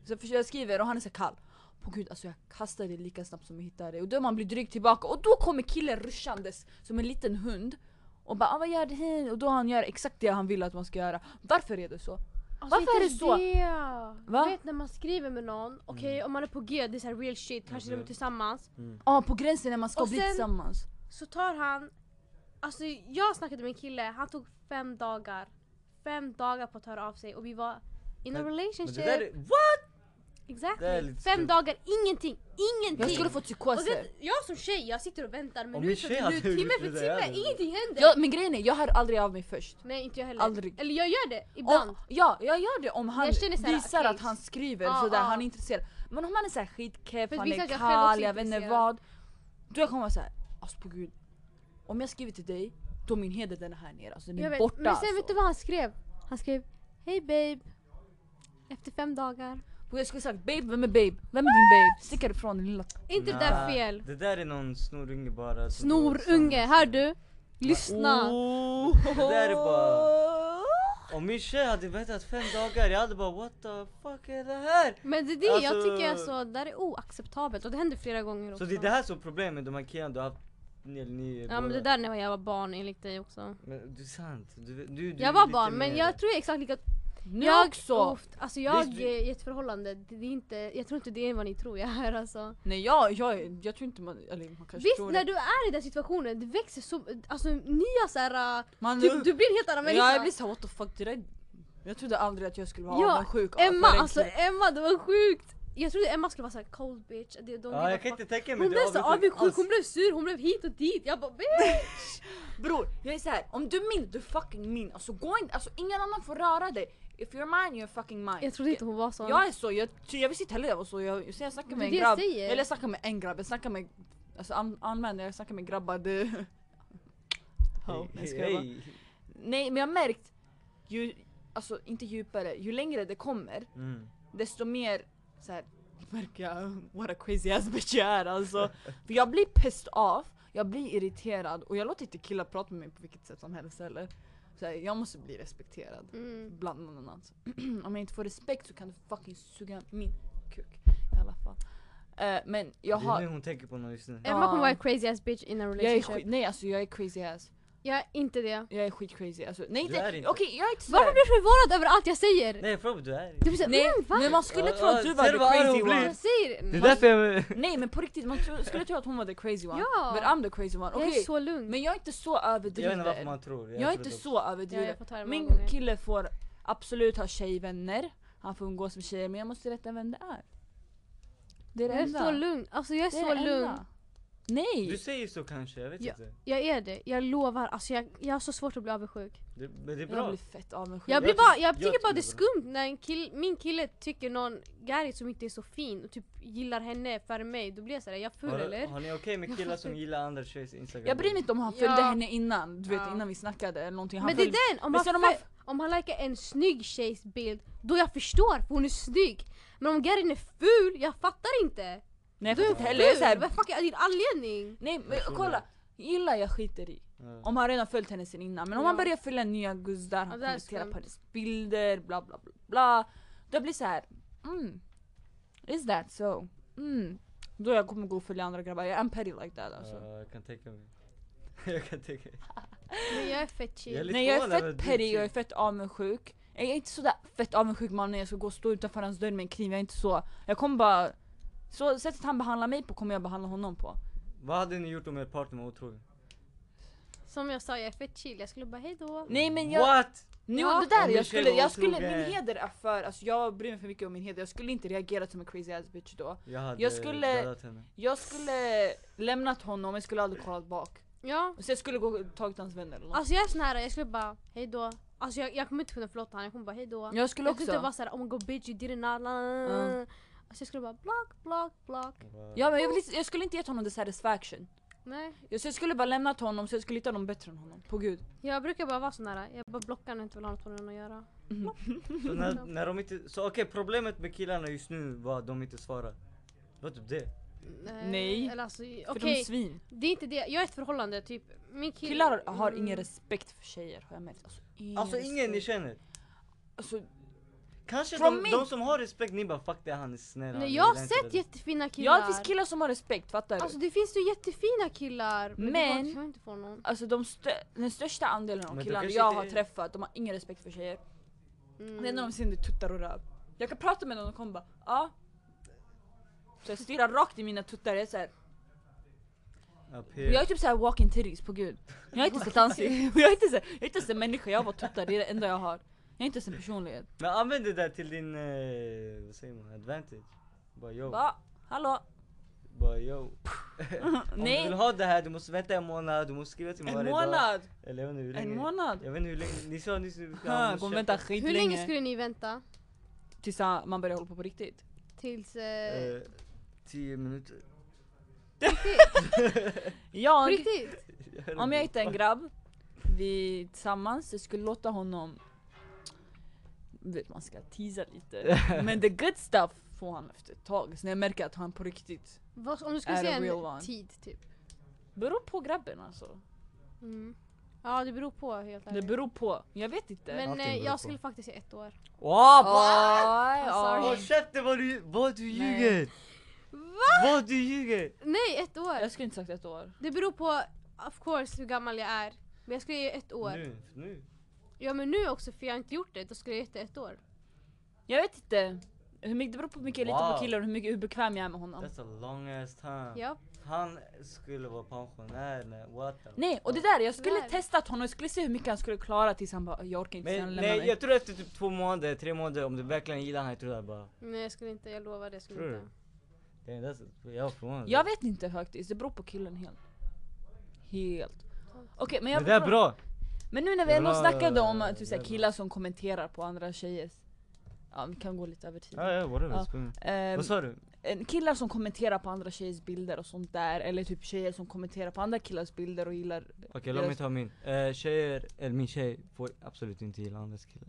Så jag försöker- jag skriver och han är så här kall. På gud alltså jag kastar det lika snabbt som jag hittar det. Och då man blir dryg tillbaka och då kommer killen ruschandes som en liten hund. Och bara ah, vad gör du här? Och då han gör exakt det han vill att man ska göra. Varför är det så?
Alltså,
Varför
inte
är det så?
Det.
Va?
Du vet när man skriver med någon, okej
Mm.
om man är på G, det är så här real shit, kanske de
Mhm.
är tillsammans.
Ja, på gränsen när man ska
Och
bli
sen-
tillsammans.
Så tar han, alltså jag snackade med en kille, han tog fem dagar. Fem dagar på att höra av sig och vi var in a
Men- Men
relationship.
det där är, what?
exactly.
det är lite
fem
skumt.
dagar, ingenting, ingenting.
Jag skulle få
och
psykoser.
vet, jag som tjej, jag sitter och väntar
Om min
minut för
tjej hade
minut,
gjort
timme
det
för
där, jag
timme,
hade-
ingenting händer.
Jag, men grejen är, jag hör aldrig av mig först.
Nej inte jag heller.
Aldrig.
Eller jag gör det ibland.
Om, ja, jag gör det om han
Jag känner såhär,
visar
okej.
att han skriver
Ja,
sådär,
ja.
han är intresserad. Men om han är såhär skitkeff,
För
han
visst
är
att jag själv också
kall,
är
jag vet inte
intresserad.
vad. Då jag kommer vara såhär, alltså på gud. Om jag skriver till dig, då min heder den är här nere, alltså den
Jag
är
vet,
borta
men sen
alltså.
vet du vad han skrev? Han skrev Hej babe Efter fem dagar
På, jag skulle sagt babe, vem är babe? Vem är din babe? Stick härifrån din lilla...
Är inte det
Nah,
där fel?
Det där är någon snorunge bara. som du har
Snorunge,
tillsammans
hör
med.
du? Lyssna!
Oh, Det där är bara- Om min tjej hade väntat fem dagar, jag hade bara what the fuck är det här?
Men det är det jag
Alltså-
tycker alltså, det där är oacceptabelt och det händer flera gånger också
Så det är det här som är problemet med de här killarna du har haft, ni, eller ni
Ja men
båda.
det där när jag var barn enligt dig också
Men det är sant, du, du, du
Jag
är
var
lite
barn men
mer-
jag tror jag är exakt lika
Nu
Jag
också!
Uff, alltså jag
Visst,
är
du-
i ett förhållande, det är inte, jag tror inte det är vad ni tror jag är alltså
Nej jag, jag, jag tror inte man, eller man kanske
Visst
tror
när
det.
du är i den situationen, det växer så, alltså nya såhär,
Man,
du, Typ du blir en helt annan
Ja jag blir såhär what the fuck, det där, jag trodde aldrig att jag skulle vara
Ja,
avundsjuk av-
Emma,
för en
alltså
kille.
Emma det var sjukt! Jag trodde Emma skulle vara såhär cold bitch, det, de
Ja jag kan inte tänka mig
Hon
det Alltså.
blev så avundsjuk,
alls.
hon blev sur, hon blev hit och dit, jag bara "Babe."
Bror, jag är såhär, om du är min, du är fucking min. Alltså gå inte, alltså ingen annan får röra dig. If you're mine, you're fucking mine.
Jag trodde inte hon var sån
Jag är så, jag, ty- jag visste inte heller jag var så. Jag, så jag snackar
Det är
med en
det jag
grabb,
säger.
eller jag snackar med en grabb, jag snackar med, alltså an, använder, jag snackar med grabbar. Det... Oh,
Hej,
jag skojar bara.
hej.
Nej men jag har märkt, ju, alltså inte djupare, ju längre det kommer
Mm.
desto mer så här, märker jag what a crazy ass bitch jag är alltså. För jag blir pissed off, jag blir irriterad och jag låter inte killar prata med mig på vilket sätt som helst heller. Så här, jag måste bli respekterad.
mm.
Bland annat. Om jag inte får respekt så kan du fucking suga min kuk. I alla fall. Eh, men jag
Det är
har...
nu hon tänker på någon just nu.
Emma
Ja.
kommer vara en crazy ass bitch in a
Jag är
relationship Jag
skit,
är,
nej alltså jag är crazy ass.
inte det
Jag är skit crazy. Alltså, nej
Du är
inte,
inte.
okej jag är inte
Varför
sådär.
blir du förvånad över allt jag säger?
Nej Frobo du är
Du blir såhär,
Nej,
nej, men
Men
va?
man skulle tro att du
Ja,
var
ser
the
du vad arg
crazy
hon blir?
one.
Jag säger
Det är
nej.
därför jag...
Nej men på riktigt, man tro, skulle tro att hon var the crazy one. But
Ja,
I'm the crazy one.
jag
Okej,
är så lugn
Men jag är inte så
Jag vet inte
överdriven.
varför man tror.
Jag är
tror
inte
det-
så
ja, jag
överdriven.
får ta det många
Min
gånger.
kille får absolut ha tjejvänner, han får umgås med tjejer men jag måste veta vem det är. Det är det
Jag är
enda.
så lugn, alltså jag är
Det är
så
det
lugn
enda. Nej!
Du säger så kanske, jag vet
Ja.
inte.
Jag är det, jag lovar, alltså jag, jag har så svårt att bli avundsjuk
Det, men det är
jag
bra.
blir fett avundsjuk.
Jag,
Jag
blir
ty-
bara, jag,
jag
tycker bara det är
tycker
skumt när en kill, min kille tycker någon gärig som inte är så fin och typ gillar henne före mig, då blir jag såhär, är jag full
Har,
eller?
har ni okej med killar som gillar andra tjejers instagram?
bryr mig inte om han följde
Ja.
henne innan, du vet
Ja.
innan vi snackade eller någonting. Han
Men det
följde-
är den! Om
Men
han,
sen om
om,
han
han om han likar en snygg tjejs bild, då jag förstår för hon är snygg! Men om gärin är ful, jag fattar inte!
Nej jag
Du
fattar
är
inte heller. Jag är
ful!
så här,
Vad fuck är din anledning?
nej men
Jag tror
kolla,
det.
gillar jag skiter i.
Ja.
Om han redan följt henne sen innan. Men om
Ja.
han börjar följa nya guzzar, han
Ja, det här är
kommenterar på
skumt.
hennes bilder, bla bla bla bla. Då blir det så här. Mm. Is that so? Mm. Då jag kommer gå och följa andra grabbar, jag är en petty like that alltså.
Ja, jag kan tänka mig. jag kan tänka mig.
Men jag är fett chill.
Jag är lite
Nej jag är
förvånad över
fett
att du
petty,
inte-
jag är fett avundsjuk. Jag är inte sådär fett avundsjuk man när jag ska gå och stå utanför hans dörr med en kniv, jag är inte så. Jag kommer bara... Så sättet han behandlar mig på kommer jag behandla honom på.
Vad hade ni gjort om er partner var otrogen?
Som jag sa, jag är fett chill, jag skulle bara hejdå.
Nej men jag...
What?
Nu,
Ja.
det där
Om
jag
min tjej
skulle,
var
jag skulle,
otrogen.
min heder är för, alltså jag bryr mig för mycket om min heder, jag skulle inte reagera som en crazy ass bitch då.
Jag hade
Jag skulle-
dödat henne.
Jag skulle lämnat honom, jag skulle aldrig kollat bak.
Ja,
Så jag skulle gå och tagit hans vänner eller något.
alltså jag är sån här, jag skulle bara hejdå. Alltså jag, jag kommer inte kunna förlåta honom, jag kommer bara hejdå.
Alltså, Jag skulle
Jag skulle inte
också.
vara såhär oh my god bitch you didn't know.
Mm.
Alltså jag skulle bara block, block, block.
Ja, men jag, vill, inte- jag skulle inte gett honom the satisfaction.
Nej.
Jag, så jag skulle bara lämnat honom så jag skulle hitta någon bättre än honom. På gud.
Jag brukar bara vara sån där, jag bara blockar när jag inte vill ha något med den att göra.
Så när, när de inte, så okej problemet med killarna just nu var att de inte svarar. Det var typ det.
Eh,
Nej.
Eller alltså, okej,
För de är svin.
det är inte det. Jag är i ett förhållande, typ. Min kille,
Killar har, har
Mm.
ingen respekt för tjejer har jag märkt. Alltså ingen,
Alltså ingen ni
respekt.
känner.
alltså,
Kanske
Från
de,
min-
de som har respekt, ni bara fuck det han är snäll. han
Nej, jag har
gillar inte
sett
det där."
jättefina killar.
Ja det finns killar som har respekt, fattar du?
Alltså
Alltså,
det finns ju jättefina killar. Men, det är bara att
Men-
jag inte får någon.
Alltså, de stö- den största andelen av
Men de
killarna
kanske
jag
inte
har
är-
träffat, de har ingen respekt för tjejer.
Mm.
Det enda de ser det är tuttar och röv. Jag kan prata med dem och de kommer bara ja. Så jag stirrar rakt i mina tuttar, jag är såhär,
Ja,
och
P.
jag är typ såhär walking titties på gud. Jag är inte ens ett ansikte, jag är inte ens- jag är inte ens en människa, jag har bara tuttar, det är det enda jag har. Jag är inte ens en personlighet.
Men använd det där till din, eh, vad säger man, advantage. Bara yo,
Va? Hallå?
bara yo. Om du vill
Nej!
ha det här, du måste vänta en månad, du måste skriva till mig
En
varje dag.
månad!
Eller jag vet inte hur länge.
En månad!
Jag vet inte hur länge, ni sa nyss att vi ska ha
Ha,
en
Kommer
köp-
vänta
Hur länge
skitlänge
skulle ni vänta?
tills han- man börjar hålla på på riktigt.
Tills... Eh,
eh, Tio minuter.
på
Jag
riktigt?
Om jag hittar en grabb, vi tillsammans, jag skulle låta honom du vet man ska teasa lite. Men the good stuff får han efter ett tag. Så när jag märker att han på riktigt
Vad, om du skulle
Är
säga
a real
en
one.
tid typ?
Beror på grabben alltså.
Mm. Ja det beror på helt
Det
ärligt.
beror på. Jag vet inte.
Men
Allting
eh,
beror
jag
på.
skulle faktiskt säga ett år.
Wow!
Oj,
I'm
oj.
Håll käften vad du, vad du
Nej.
ljuger! Vad du ljuger!
Nej ett år!
Jag skulle inte sagt ett år.
Det beror på of course hur gammal jag är. Men jag skulle ge ett år.
Nu, nu.
Ja men nu också för jag har inte gjort det, då skulle jag ge det ett år.
Jag vet inte. Hur mycket, det beror på hur mycket jag litar
Wow.
på killar och hur, mycket, hur bekväm jag är med honom.
That's a long ass time.
Ja.
Han skulle vara pensionär när, what the
Nej, och det
fuck?
där, jag skulle
Tyvärr.
testat honom, jag skulle se hur mycket han skulle klara tills han bara jag orkar inte, så han
Men
lämnar
nej,
Liksom, mig.
jag tror efter typ två månader, tre månader om du verkligen gillar han, jag tror det bara...
Nej jag skulle inte, jag lovar det. Jag
Tror
skulle
du?
inte.
Damn, that's, jag är förvånad.
Jag vet inte faktiskt, det beror på killen helt. Helt. Okej men jag
det där är
vill-
bra!
Men nu när vi ändå
Bra,
snackade om att
det
typ, såhär,
är bra.
killar som kommenterar på andra tjejers... Ja vi kan gå lite över tid.
Ja, ja, whatever.
Ja.
it's fine.
Ehm,
Vad sa du?
en- killar som kommenterar på andra tjejers bilder och sånt där, eller typ tjejer som kommenterar på andra killars bilder och gillar...
Okej, låt mig
deras-
ta min. Eh, tjejer, eller min tjej, får absolut inte gilla andras killar.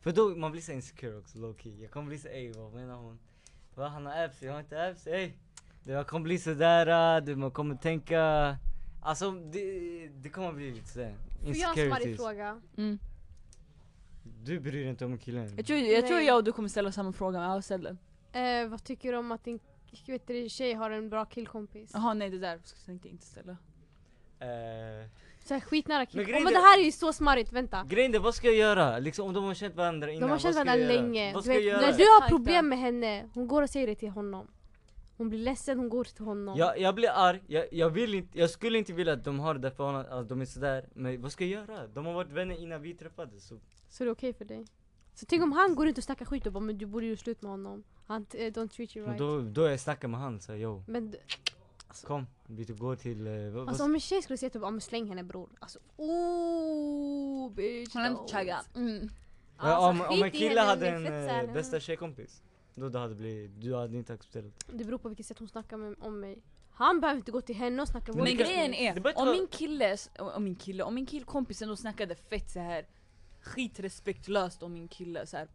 För då, man blir så insecure också, low key. Jag kommer bli så ey vad menar hon? Va, han har apps, jag har inte apps, ey! Det- Jag kommer bli sådär, eh, du, man kommer tänka... Alltså, det, det kommer bli lite sådär,
Får jag en smarrig
insecurities.
fråga?
Mm.
Du bryr dig inte om killen.
Jag, tror, jag tror
Nej.
jag och du kommer ställa samma fråga, men jag har ställt den.
Eh, vad tycker du om att din vet du, tjej har en bra killkompis?
Jaha nej det där tänkte jag inte ställa.
Eh,
Så här, skitnära
Men
killkompis.
grejen
Oh, men
är-
det här är ju så smarrigt, vänta.
grejen är, vad ska jag göra? Liksom om de har känt varandra innan,
De har känt
vad ska
varandra
jag göra?
länge. Du
Vad ska jag
vet,
göra?
när du har
Tajta.
problem med henne, hon går och säger det till honom. Hon blir ledsen, hon går till honom.
Jag, jag blir arg, jag, jag vill inte, jag skulle inte vilja att de har det där förhållandet, att de är sådär Men vad ska jag göra? De har varit vänner innan vi träffades så
Så det är okej för dig. Så tänk om han går runt och snackar skit och bara men du borde ju sluta med honom. Han eh, don't treat you
och
right.
då, då jag snackar med han så yo,
Men d-
Alltså-
kom vi går till, eh, vad,
alltså
vad,
om en tjej skulle säga typ ah, men släng henne bror. Alltså oh bitch.
Hon har inte
don't. alltså,
chaggat. Mm.
Ja, om, om en
skit i
kille
henne,
hade
hon
en
är fett
eh,
såhär.
bästa tjejkompis Då det hade blivit, du hade inte accepterat
Det beror på vilket sätt hon snackar med, om mig. Han behöver inte gå till henne och snacka
Men
Men
det-
grejen
det
är,
behöver
om
inte
min kille, om min kille, om min killkompis ändå snackade fett så här skitrespektlöst om min kille så här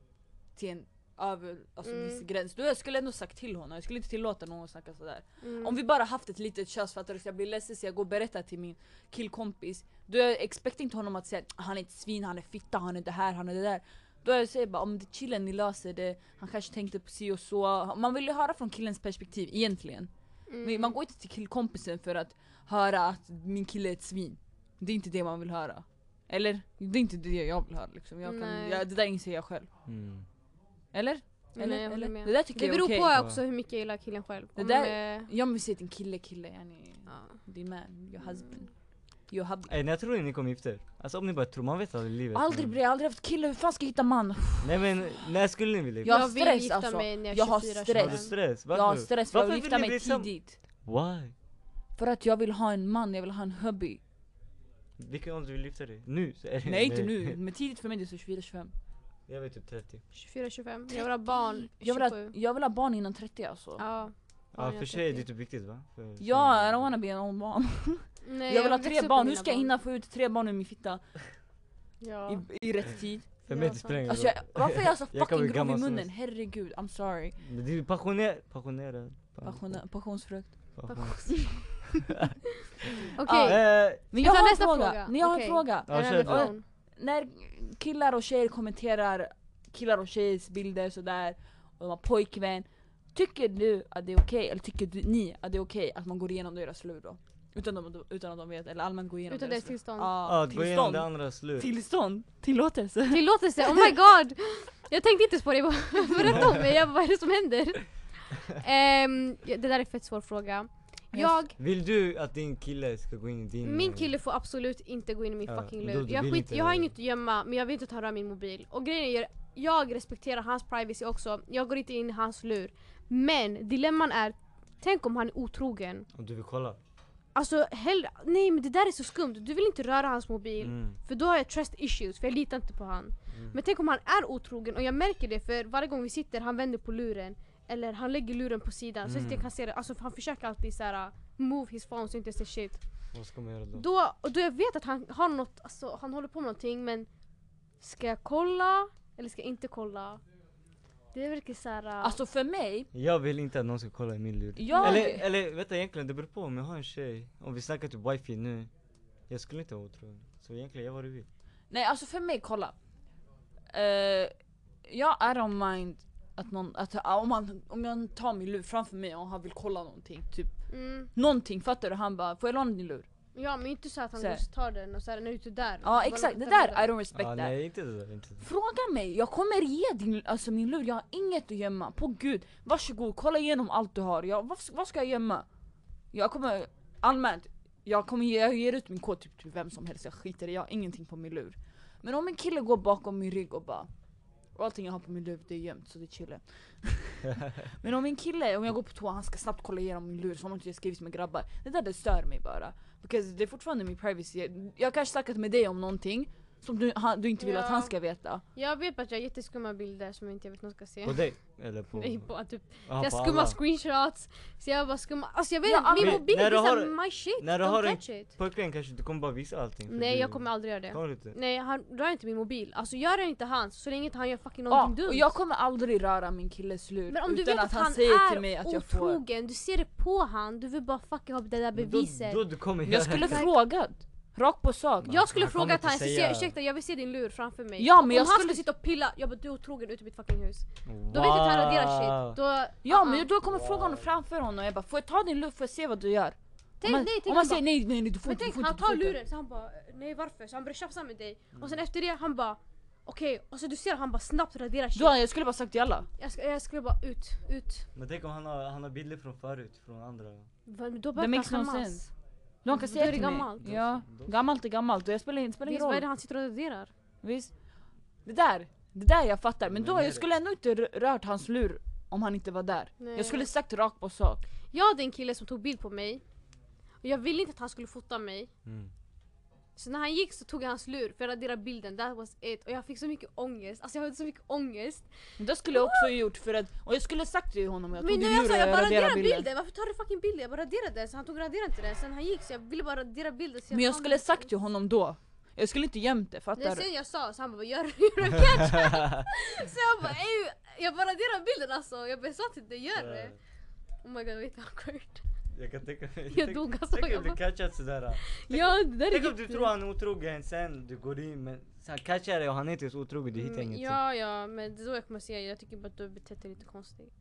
till en över, alltså en
Mm.
viss gräns. Då jag skulle ändå sagt till honom, jag skulle inte tillåta någon att snacka sådär.
Mm.
Om vi bara haft ett litet tjafs fattar du, så jag blir ledsen så jag går och berättar till min killkompis. Då jag expect inte honom att säga han är ett svin, han är fitta, han är det här, han är det där. Då jag säger bara om det chillen ni löser det, han kanske tänkte på si och så. Man vill ju höra från killens perspektiv egentligen.
mm.
Men Man går inte till killkompisen för att höra att min kille är ett svin. Det är inte det man vill höra. Eller? Det är inte det jag vill höra liksom. Jag kan,
Nej.
jag, det där inser jag själv.
mm.
Eller?
Nej,
Eller?
jag håller
Eller?
med.
Det där tycker
Det
jag är
beror
okej.
på också hur mycket jag gillar killen själv.
Det
Om,
där-
eh,
Jag vill säga till en kille kille, yani.
ja.
Din man, your husband. Your hubby.
Ey, jag Eh, tror ni kommer gifta er, alltså om ni bara tror, man vet aldrig i livet
Aldrig
men-
blir jag aldrig haft kille, hur fan ska jag hitta man?
Nej men, när skulle ni vilja
Jag
gifta
har
vill
stress,
gifta
alltså.
mig när jag,
Jag
är
har
24,
stress.
Har du stress? Varför?
Jag har stress för jag vill
Varför
gifta
vill ni
mig
bli sam-
tidigt.
Why?
För att jag vill ha en man, jag vill ha en hubby.
Vilken ålder vill du gifta dig? Nu? Så är det,
Nej inte nu, men tidigt för mig det är så 24-25
Jag vet typ 30.
24-25, jag vill ha barn
jag vill, ha,
27.
jag vill ha barn innan 30 alltså
Ja.
Ja,
jag
för tjejer det är
30.
typ viktigt va? För,
Ja, I don't wanna be an old mom
Nej,
Jag vill ha
växa
tre
upp
barn,
med
hur
mina
ska jag hinna få ut tre barn ur min fitta?
Ja.
I, I rätt tid?
för mig
Ja,
det
sant.
spelar ingen
Alltså jag,
roll.
varför är jag så
Jag kan bli
fucking grov i
gammal som
munnen?
helst.
Herregud, I'm sorry
Men Du är passionerad. Passionerad.
Passiona- Passionsfrukt
Passion.
Okej,
Ja,
okay.
Eh,
Men
Jag
jag
tar
har en
nästa
fråga,
fråga.
Nej, jag har en
Okej.
fråga
ja,
en
kör du.
relation.
När killar och tjejer kommenterar killar och tjejers bilder sådär och de har pojkvän Tycker du att det är okej, eller tycker du, ni att det är okej att man går igenom deras lur då? Utan, de, utan att de vet, eller allmänt går igenom
Utan
deras
dess
lur?
tillstånd.
Ja,
Ja, att gå igenom det
tillstånd,
andra slut.
tillstånd, tillåtelse
Tillåtelse, oh my god! Jag tänkte inte ens på det, jag bara berätta om mig, jag bara, vad är det som händer? Ehm, ja, det där är en fett svår fråga. Jag,
Vill du att din kille ska gå in i din... eh,
min kille får absolut inte gå in i min
Ja,
fucking
men då
lur.
du
Jag,
vill
skit,
inte-
jag har inget att gömma, men jag vill inte ta röra min mobil. Och grejen är, jag respekterar hans privacy också, jag går inte in i hans lur. Men dilemman är, tänk om han är otrogen.
Om du vill kolla.
Alltså hellre, nej men det där är så skumt, du vill inte röra hans mobil.
Mm.
För då har jag trust issues, för jag litar inte på han.
Mm.
Men tänk om han är otrogen och jag märker det för varje gång vi sitter han vänder på luren. Eller han lägger luren på sidan så att
Mm.
jag kan se det. Alltså för han försöker alltid så här move his phone så jag inte ser shit.
Vad ska man göra då?
Då, och då jag vet att han har något, alltså han håller på med någonting men ska jag kolla eller ska jag inte kolla? Det verkar så här.
Alltså för mig,
Jag vill inte att någon ska kolla i min lur.
jag...
Eller, eller vänta egentligen, det beror på om jag har en tjej. Om vi snackar typ wifi nu. Jag skulle inte vara otrogen. Så egentligen, gör vad du vill.
Nej alltså för mig, kolla. Eh, jag I don't mind att någon, att, ah, om, han, om jag tar min lur framför mig och han vill kolla någonting, typ
mm,
någonting fattar du? Han bara 'Får jag låna din lur?'
ja men inte så att han
Så här.
går och tar den och så här, när du är ute där.
Ja exakt, det där I don't respect
Ah,
that.
nej inte det där, inte det där.
Fråga mig, jag kommer ge din, alltså min lur, jag har inget att gömma. På gud, varsågod kolla igenom allt du har. Jag, vad, vad ska jag gömma? Jag kommer, allmänt, jag kommer ge, jag ger ut min kod typ till vem som helst, jag skiter i, jag har ingenting på min lur. Men om en kille går bakom min rygg och bara "Och Allting jag har på min lur det är gömt så det är chille. Men om en kille, om jag går på toa, han ska snabbt kolla igenom min lur som om inte jag skrivit med grabbar. Det där det stör mig bara. Because det är fortfarande min privacy. Jag- Jag har kanske snackat med dig om någonting som du, han, du inte vill att
Ja.
han ska veta.
Jag vet bara att jag har jätteskumma bilder som jag inte vet någon ska se.
På dig? Eller på...
Nej, på typ
Ah,
jag
på
skummar
alla.
screenshots, så jag bara skummar, alltså jag vet
Ja,
inte, min
men-
mobil
när du
visar
har-
my shit,
när du
don't
har en-
touch it.
Pojkvän kanske, du kommer bara visa allting. för
Nej
du-
jag kommer aldrig göra det.
Kommer du inte?
Nej han rör inte min mobil, alltså gör det inte han så länge inte han gör fucking
Ja,
någonting
och
dumt.
jag kommer aldrig röra min killes lur
Men om du
utan
vet
att han säger
är
till mig att jag får.
otrogen, du ser det på han, du vill bara fucking ha det där
Men
beviset.
Då, då du kommer
Jag skulle
Exakt.
frågat. Rakt på sak.
Ja.
jag skulle
Han kommer
frågat
inte
han, jag ska
säga-
se, ursäkta jag vill se din lur framför mig.
Ja, men
Om
jag
han
skulle-
skulle sitta och pilla, jag bara du är otrogen ut ur mitt fucking hus.
Wow.
Då vet jag att han raderar shit. Då,
Ja
Ah.
men då kommer jag fråga honom framför honom och jag bara får jag ta din lur, får jag se vad du gör?
tänk,
om man,
nej, tänk
om man
han bara-
säger nej nej nej du får
Men
inte, du
tänk
får inte.
han
du får
tar
inte."
luren så han bara nej varför? Så han börjar tjafsa med dig och sen efter det han bara okej och så du ser han bara snabbt radera shit.
Då hade jag skulle bara sagt jalla.
Jag, ska, jag skulle bara ut, ut.
Men tänk om han har, han har bilder från förut, från andra.
Va, men Då
That
börjar
makes no
han skämmas.
sense. De kan
Då
säga
är det
till mig.
gammalt.
Ja,
Då-
gammalt är gammalt och jag spelar, det spelar
Visst
ingen
vad är
roll.
det han sitter och raderar?
Visst. Det där, det där jag fattar. Men
Men
då
är
jag
det-
skulle ändå inte rö- rört hans lur om han inte var där.
Nej.
Jag skulle sagt rakt på sak.
Jag hade en kille som tog bild på mig och jag ville inte att han skulle fota mig.
Mm.
Så när han gick så tog jag hans lur för jag raderade bilden, that was it. Och jag fick så mycket ångest, alltså jag hade så mycket ångest.
Men Det skulle jag också ha gjort för att, och jag skulle sagt till honom jag
Men
tog
nu
din
jag
lur
sa
och
jag bara
jag
raderar
raderade
bilden.
bilden.
varför tar du fucking bilden? Jag bara raderade den så han tog och raderade inte den. Sen han gick så jag ville bara radera bilden. Så
Men jag
fan,
skulle
det-
sagt till honom då. Jag skulle inte gömt det,
Nej
fattar du?
sen jag sa så han bara gör gör det catch Så jag bara ey jag bara raderar bilden alltså Jag bara sa till dig gör det
Eh.
Oh my god vet du awkward
Jag kan tänka mig.
Jag dog, alltså,
Tänk
jag
om du
bara-
catchat sådär.
Ja det där
Tänk om du tror han är otrogen sen du går in men så han catchar dig och han är inte ens otrogen, du hittar ingenting.
Mm, Ja ja men det är då jag kommer säga jag tycker bara att du har betett dig lite konstigt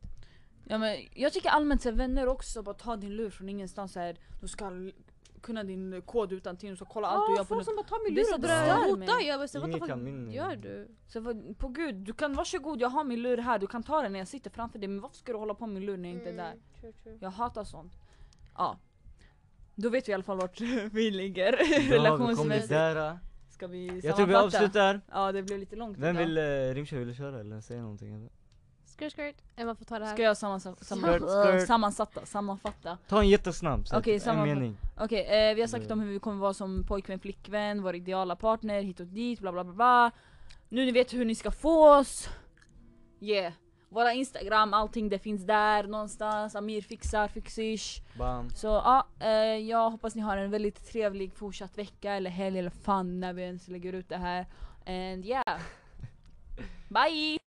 Ja, men jag tycker allmänt så här, vänner också, bara ta din lur från ingenstans så här. du ska l- kunna din kod utan till och ska kolla allt du gör på
folk
nätet.
som bara tar min
Det är
lur
så
och Mm, börjar
stör
hota
mig.
Jag bara så
Ingen
what the
kan min-
fuck gör du?
Så vad- på gud, du kan varsågod jag har min lur här, du kan ta den när jag sitter framför dig men varför ska du hålla på med min lur när jag inte är där?
true, true.
Jag hatar sånt. Ja. Då vet vi i alla fall vart vi ligger
Då har vi kommit
relationsmässigt.
där.
Ska vi
Jag tror vi
sammanfatta?
avslutar.
Ja det blev lite långt
Vem
idag.
vill, eh, Rimsha vill du köra eller säga någonting? Eller?
Skirt skirt. Emma får ta det här.
Ska jag sammansa- samman-
Skirt, skirt.
sammansatta, sammanfatta?
Ta en jättesnabb så
Okej,
att- en
samma-
mening.
Okej, eh, vi har sagt om hur vi kommer vara som pojkvän, flickvän, vår ideala partner, hit och dit, bla bla bla bla. Nu ni vet hur ni ska få oss. Yeah. Våra instagram, allting det finns där någonstans. Amir fixar, fixish.
Bam.
Så ja, eh, jag hoppas ni har en väldigt trevlig fortsatt vecka eller helg eller fan när vi ens lägger ut det här. And yeah. Bye!